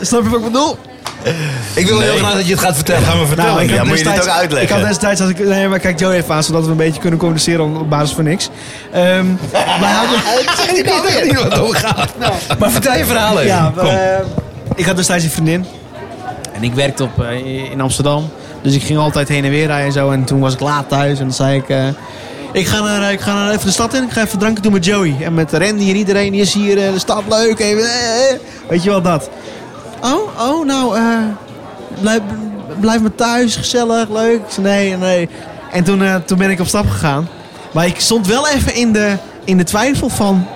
[SPEAKER 3] Snap je wat ik bedoel?
[SPEAKER 4] Ik wil heel graag dat je het gaat *laughs* vertellen.
[SPEAKER 5] Gaan we vertellen.
[SPEAKER 3] Nou, ik
[SPEAKER 2] ja,
[SPEAKER 3] had
[SPEAKER 2] moet je dit
[SPEAKER 3] destijds-
[SPEAKER 2] ook uitleggen?
[SPEAKER 3] Ik had destijds, als ik, nee, maar kijk Joe even aan, zodat we een beetje kunnen communiceren op basis van niks. Ehm wij hadden,
[SPEAKER 2] *laughs* nou
[SPEAKER 4] Maar vertel je verhalen.
[SPEAKER 3] ja, eh, ik had destijds een vriendin. En ik werkte op, eh, in Amsterdam. Dus ik ging altijd heen en weer rijden en zo. En toen was ik laat thuis en dan zei ik... eh, ik ga, naar, eh, ik ga naar even de stad in. Ik ga even dranken doen met Joey. En met Randy en iedereen. Die is hier. eh, De stad leuk. Even, eh, eh. weet je wel dat. Oh, oh, nou. eh, blijf, blijf maar thuis. Gezellig. Leuk. Ik zei, nee, nee. En toen, eh, toen ben ik op stap gegaan. Maar ik stond wel even in de, in de twijfel van...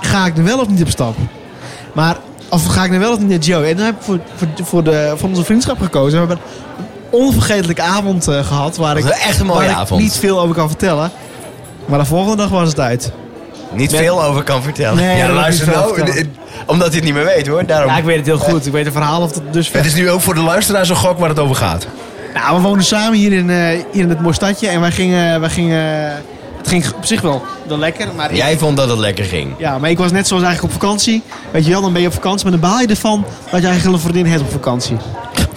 [SPEAKER 3] Ga ik er wel of niet op stap? Maar... Of ga ik er wel of niet naar Joey? En toen heb ik voor, voor, voor, de, voor onze vriendschap gekozen. We hebben een onvergetelijke avond eh, gehad. Waar ik,
[SPEAKER 2] was echt een mooie
[SPEAKER 3] waar ik
[SPEAKER 2] avond.
[SPEAKER 3] niet veel over kan vertellen. Maar de volgende dag was het uit.
[SPEAKER 2] Niet veel over kan vertellen.
[SPEAKER 3] Nee, dat
[SPEAKER 2] ja,
[SPEAKER 3] wil ik
[SPEAKER 2] luister
[SPEAKER 3] niet
[SPEAKER 2] nou.
[SPEAKER 3] vertellen.
[SPEAKER 2] eh, *laughs* Omdat hij het niet meer weet hoor. Daarom.
[SPEAKER 3] Ja, ik weet het heel goed. Ik weet het verhaal of dat dus
[SPEAKER 4] Het is nu ook voor de luisteraar zo'n gok waar het over gaat.
[SPEAKER 3] Nou, we woonden samen hier in, eh, hier in het mooie stadje. En wij gingen, wij gingen... Het ging op zich wel, wel lekker. Maar ik-
[SPEAKER 2] Jij vond dat het lekker ging.
[SPEAKER 3] ja, maar ik was net zoals eigenlijk op vakantie. Weet je wel, dan ben je op vakantie. Maar dan baal je ervan dat je eigenlijk een vriendin hebt op vakantie.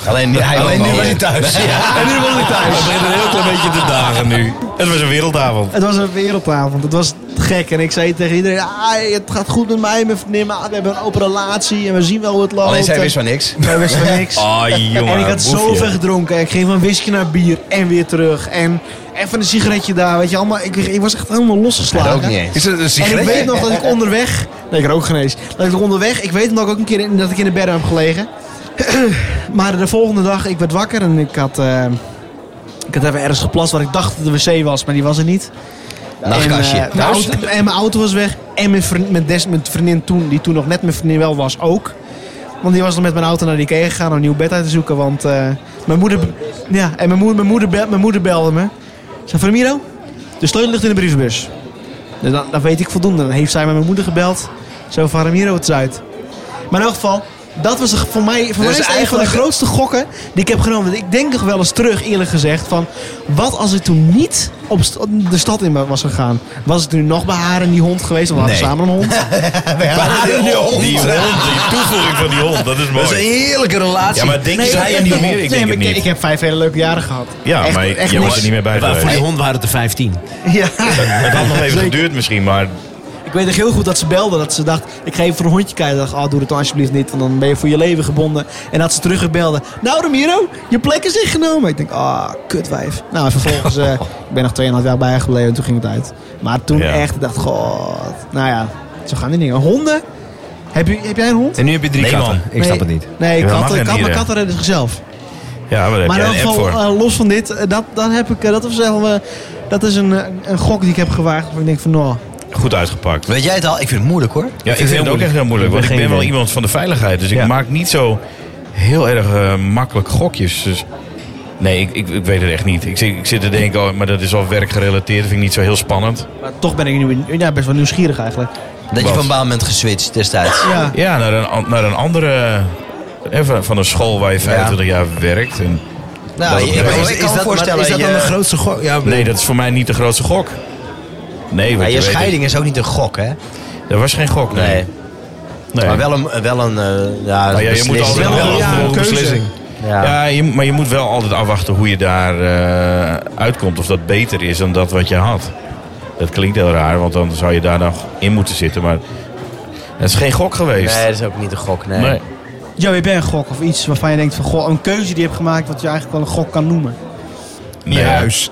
[SPEAKER 2] Alleen, hij
[SPEAKER 5] Alleen
[SPEAKER 4] Oh,
[SPEAKER 5] nu was hij
[SPEAKER 2] thuis.
[SPEAKER 5] En nu was ik thuis. We beginnen een heel klein beetje de dagen nu. Het was een wereldavond.
[SPEAKER 3] Het was een wereldavond. Het was te gek. En ik zei tegen iedereen... Ah, het gaat goed met mij, mijn vriendin. Maar we hebben een open relatie. En we zien wel hoe het loopt.
[SPEAKER 2] Alleen zij
[SPEAKER 3] En-
[SPEAKER 2] wist
[SPEAKER 3] *laughs*
[SPEAKER 2] van niks.
[SPEAKER 3] Wij
[SPEAKER 2] *laughs*
[SPEAKER 3] wisten van niks.
[SPEAKER 5] Ah, jongen.
[SPEAKER 3] en ik had
[SPEAKER 5] boefje.
[SPEAKER 3] zoveel gedronken. Ik ging van whisky naar bier en weer terug. En even een sigaretje daar, weet je allemaal. Ik, ik was echt helemaal losgeslagen.
[SPEAKER 2] Dat ook niet eens.
[SPEAKER 4] Is het een
[SPEAKER 3] En ik
[SPEAKER 4] sigaretje?
[SPEAKER 3] weet nog dat ik onderweg... Nee, ik rook geen eens. Dat ik onderweg... Ik weet nog dat ik ook een keer in, dat ik in de berm heb gelegen. *clears throat* maar de volgende dag, ik werd wakker en ik had... eh, ik had even ergens geplast waar ik dacht dat de wc was, maar die was er niet.
[SPEAKER 2] Nachtkastje.
[SPEAKER 3] En, eh, mijn, auto, en mijn auto was weg. En mijn, vriend, mijn, des, mijn vriendin toen, die toen nog net mijn vriendin wel was, ook. Want die was nog met mijn auto naar de Ikea gegaan om een nieuw bed uit te zoeken. Want eh, mijn moeder... Ja, en mijn moeder, mijn moeder, bel- mijn moeder belde me. Ze zei, Ramiro, de sleutel ligt in de brievenbus. Dus dan, dan weet ik voldoende. Dan heeft zij met mijn moeder gebeld. Zo van Ramiro het is uit. Maar in elk geval, dat was een- voor mij,
[SPEAKER 5] Dus
[SPEAKER 3] voor mij is het een van de
[SPEAKER 2] eigenlijk-
[SPEAKER 3] grootste gokken die ik heb genomen. Want ik denk nog wel eens terug, eerlijk gezegd, van wat als ik toen niet op st- de stad in was gegaan? Was ik nu nog bij haar en die hond geweest? Of we hadden
[SPEAKER 2] Nee.
[SPEAKER 3] samen een
[SPEAKER 5] *laughs*
[SPEAKER 3] hond?
[SPEAKER 2] die hond.
[SPEAKER 5] Die hond, die toevoeging van die hond, dat is
[SPEAKER 4] Dat is een
[SPEAKER 5] mooi.
[SPEAKER 4] heerlijke relatie.
[SPEAKER 5] Ja, maar denk
[SPEAKER 3] Nee,
[SPEAKER 5] zij
[SPEAKER 3] nee,
[SPEAKER 5] en die
[SPEAKER 3] nee,
[SPEAKER 5] hond? Ik
[SPEAKER 3] nee,
[SPEAKER 5] denk
[SPEAKER 3] maar
[SPEAKER 5] het
[SPEAKER 3] ik, ik
[SPEAKER 5] niet.
[SPEAKER 3] heb vijf hele leuke jaren gehad.
[SPEAKER 5] Ja,
[SPEAKER 3] Echt-
[SPEAKER 5] maar ik-
[SPEAKER 3] echt
[SPEAKER 5] je
[SPEAKER 3] niks.
[SPEAKER 5] wordt er niet meer bij
[SPEAKER 6] Waar- Voor die
[SPEAKER 5] geweest.
[SPEAKER 6] hond waren het er 15.
[SPEAKER 3] Ja.
[SPEAKER 5] Het had nog even
[SPEAKER 3] Zeker.
[SPEAKER 5] geduurd misschien, maar
[SPEAKER 3] Ik weet echt heel goed dat ze belde. Dat ze dacht, ik ga even voor een hondje kijken. Ik dacht, ah, doe het dan alsjeblieft niet, want dan ben je voor je leven gebonden. En dat ze teruggebelde. Nou Ramiro, je plek is ingenomen. Ik denk, ah, kutwijf. Nou, en vervolgens,
[SPEAKER 5] *laughs*
[SPEAKER 3] eh, ik ben nog 2,5 jaar bij haar gebleven en toen ging het uit. Maar toen
[SPEAKER 5] Ja.
[SPEAKER 3] echt, ik dacht, god. Nou ja, zo gaan die dingen. Honden? Heb, je, heb jij een hond?
[SPEAKER 4] En nu heb je drie
[SPEAKER 5] Nee,
[SPEAKER 4] katten.
[SPEAKER 5] man.
[SPEAKER 4] Ik snap het niet.
[SPEAKER 3] Nee,
[SPEAKER 5] Ja, dat mag
[SPEAKER 3] katten,
[SPEAKER 5] geen
[SPEAKER 3] katten,
[SPEAKER 5] dieren.
[SPEAKER 3] katten redden zichzelf.
[SPEAKER 5] ja, waar heb
[SPEAKER 3] Maar in
[SPEAKER 5] jij
[SPEAKER 3] elk
[SPEAKER 5] een app
[SPEAKER 3] geval,
[SPEAKER 5] voor?
[SPEAKER 3] eh, los van dit, eh, dat, dan heb ik, eh, dat, was wel, eh, dat is een, eh, een gok die ik heb gewaagd. waarvan ik denk van, nou,
[SPEAKER 5] Goed uitgepakt.
[SPEAKER 2] Weet jij het al? Ik vind het moeilijk hoor.
[SPEAKER 5] Ja, ik vind het ook echt heel moeilijk, want ik ben wel iemand van de veiligheid. Dus ik maak niet zo heel erg eh, makkelijk gokjes. Dus nee, ik, ik, ik weet het echt niet. Ik, zit- ik zit te denken, oh, maar dat is al werkgerelateerd. Dat vind ik niet zo heel spannend.
[SPEAKER 3] maar toch ben ik nu ja, best wel nieuwsgierig eigenlijk.
[SPEAKER 2] Dat je
[SPEAKER 5] Wat?
[SPEAKER 2] van baan bent geswitcht destijds.
[SPEAKER 3] Ja.
[SPEAKER 5] Ja, naar een, an- naar een andere... eh, van- van een school waar je 25 jaar werkt. En,
[SPEAKER 2] Nou,
[SPEAKER 5] Dat
[SPEAKER 2] ik- ik,
[SPEAKER 5] betreft.
[SPEAKER 2] ik kan me voorstellen.
[SPEAKER 4] Is dat dan
[SPEAKER 2] je-
[SPEAKER 4] de grootste gok? Ja,
[SPEAKER 5] nee, dat is voor mij niet de grootste gok. Nee,
[SPEAKER 2] Ja,
[SPEAKER 5] want
[SPEAKER 2] Ah, je
[SPEAKER 5] weet-
[SPEAKER 2] scheiding is ook niet een gok, hè?
[SPEAKER 5] Dat was geen gok, nee.
[SPEAKER 2] Nee.
[SPEAKER 5] Nee.
[SPEAKER 2] Maar wel een. Wel een eh, ja,
[SPEAKER 5] Maar Ah, ja, je moet
[SPEAKER 2] beslissing.
[SPEAKER 5] altijd
[SPEAKER 2] Wel een-
[SPEAKER 5] afwachten
[SPEAKER 3] ja,
[SPEAKER 5] hoe
[SPEAKER 3] keuze.
[SPEAKER 5] beslissing. Ja,
[SPEAKER 2] Ja.
[SPEAKER 5] je, maar je moet wel altijd afwachten hoe je daar eh, uitkomt. Of dat beter is dan dat wat je had. Dat klinkt heel raar, want dan zou je daar nog in moeten zitten. Maar dat is geen gok geweest.
[SPEAKER 2] Nee, dat is ook niet een gok, nee.
[SPEAKER 5] Nee.
[SPEAKER 3] Joe, heb jij een gok of iets waarvan je denkt van goh, een keuze die je hebt gemaakt wat je eigenlijk wel een gok kan noemen?
[SPEAKER 5] Oh, Nee.
[SPEAKER 4] Juist.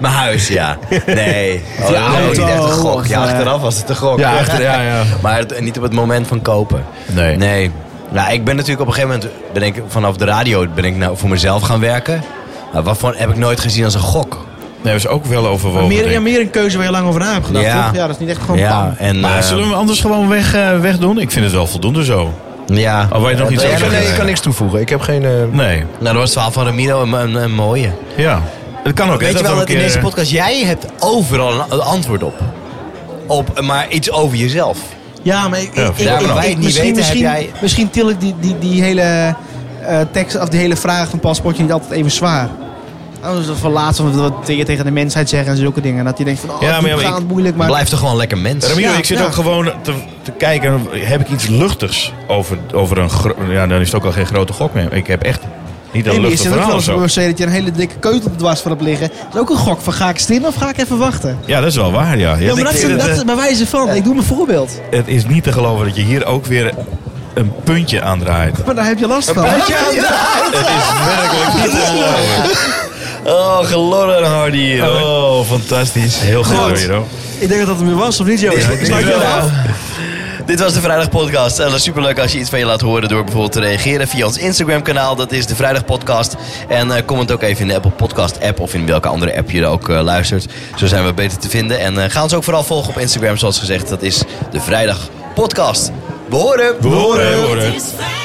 [SPEAKER 2] Mijn huis, ja. Nee. Oh, dat is ook
[SPEAKER 3] auto,
[SPEAKER 2] niet echt een gok.
[SPEAKER 3] of,
[SPEAKER 2] Ja,
[SPEAKER 3] eh,
[SPEAKER 2] achteraf was het een gok.
[SPEAKER 4] Ja, achter- ja, ja.
[SPEAKER 2] *laughs* Maar het- niet op het moment van kopen.
[SPEAKER 5] Nee.
[SPEAKER 2] Nee. Nou, ik ben natuurlijk op een gegeven moment, ben ik, vanaf de radio ben ik nou voor mezelf gaan werken. Nou, wat voor, heb ik nooit gezien als een gok.
[SPEAKER 5] Nee, dat is ook wel overwogen.
[SPEAKER 3] meer,
[SPEAKER 5] denk
[SPEAKER 3] ja,
[SPEAKER 5] ik.
[SPEAKER 3] meer een keuze waar je lang over na hebt gedacht,
[SPEAKER 2] Ja.
[SPEAKER 3] toch? Ja, dat is niet echt gewoon
[SPEAKER 2] ja,
[SPEAKER 3] bam.
[SPEAKER 2] en,
[SPEAKER 5] maar
[SPEAKER 2] eh,
[SPEAKER 5] zullen we hem anders gewoon weg, eh, wegdoen? Ik vind het wel voldoende zo.
[SPEAKER 2] ja.
[SPEAKER 5] Oh, wil je nog
[SPEAKER 2] Eh,
[SPEAKER 5] iets
[SPEAKER 2] wil jij
[SPEAKER 5] over
[SPEAKER 2] nog
[SPEAKER 5] zeggen?
[SPEAKER 4] Nee, ik
[SPEAKER 2] iets?
[SPEAKER 4] kan niks toevoegen. Ik heb geen... eh,
[SPEAKER 5] Nee.
[SPEAKER 2] Nou, dat was het verhaal van Ramiro een, een, een mooie.
[SPEAKER 5] Ja. Het kan ook. eh, hè,
[SPEAKER 2] Weet je
[SPEAKER 5] we
[SPEAKER 2] wel
[SPEAKER 5] een
[SPEAKER 2] dat eh, in
[SPEAKER 5] keer-
[SPEAKER 2] deze podcast, jij hebt overal een, een antwoord op. Op, maar iets over jezelf.
[SPEAKER 3] Ja, maar ik,
[SPEAKER 5] Ja,
[SPEAKER 3] ik,
[SPEAKER 5] ja,
[SPEAKER 3] ik,
[SPEAKER 2] maar wij het niet
[SPEAKER 3] misschien,
[SPEAKER 2] weten,
[SPEAKER 3] misschien,
[SPEAKER 2] heb jij-
[SPEAKER 3] misschien til ik die, die, die hele eh, tekst of die hele vraag van paspoortje niet altijd even zwaar. Oh, dus Anders dan van laatst wat wat tegen tegen de mensheid zeggen en zulke dingen. En dat je denkt van oh,
[SPEAKER 5] Ja, maar ja,
[SPEAKER 3] ja,
[SPEAKER 5] maar
[SPEAKER 3] gaat
[SPEAKER 5] ik-
[SPEAKER 3] moeilijk, maar
[SPEAKER 2] Blijf toch gewoon lekker mens.
[SPEAKER 5] Ramiro,
[SPEAKER 3] Ja,
[SPEAKER 5] ik zit
[SPEAKER 3] ja.
[SPEAKER 5] ook gewoon te, te kijken, heb ik iets luchtigs over, over een... gro- Ja, dan is het ook al geen grote gok meer. Ik heb echt niet
[SPEAKER 3] Nee,
[SPEAKER 5] een
[SPEAKER 3] maar is er
[SPEAKER 5] luchtig
[SPEAKER 3] ook
[SPEAKER 5] verhaal
[SPEAKER 3] wel
[SPEAKER 5] of
[SPEAKER 3] eens per
[SPEAKER 5] zo.
[SPEAKER 3] se dat je een hele dikke keutel op dwars van hebt liggen. Dat is ook een gok van ga ik stimmen of ga ik even wachten?
[SPEAKER 5] Ja, dat is wel waar, ja. Ja,
[SPEAKER 3] Ja, maar
[SPEAKER 5] ik
[SPEAKER 3] dat is,
[SPEAKER 5] vind
[SPEAKER 3] dat
[SPEAKER 5] het,
[SPEAKER 3] is bij wijze van. Ik doe mijn voorbeeld.
[SPEAKER 5] eh, het is niet te geloven dat je hier ook weer een puntje aan draait.
[SPEAKER 3] Maar daar heb je last van.
[SPEAKER 5] Het is werkelijk niet te geloven. Oh, gelorren Hardy hier. Oh, fantastisch. Heel goed, Ramiro.
[SPEAKER 3] Ik denk dat dat hem weer was, of niet, Joost? Ik sluit jou af.
[SPEAKER 2] Dit was de Vrijdag Podcast. En dat is superleuk als je iets van je laat horen door bijvoorbeeld te reageren via ons Instagram kanaal. Dat is de Vrijdag Podcast. En eh, comment ook even in de Apple Podcast app of in welke andere app je er ook eh, luistert. Zo zijn we beter te vinden. En eh, ga ons ook vooral volgen op Instagram zoals gezegd. Dat is de Vrijdag Podcast. We horen!
[SPEAKER 5] We horen, we horen.
[SPEAKER 1] Het is vrijdag.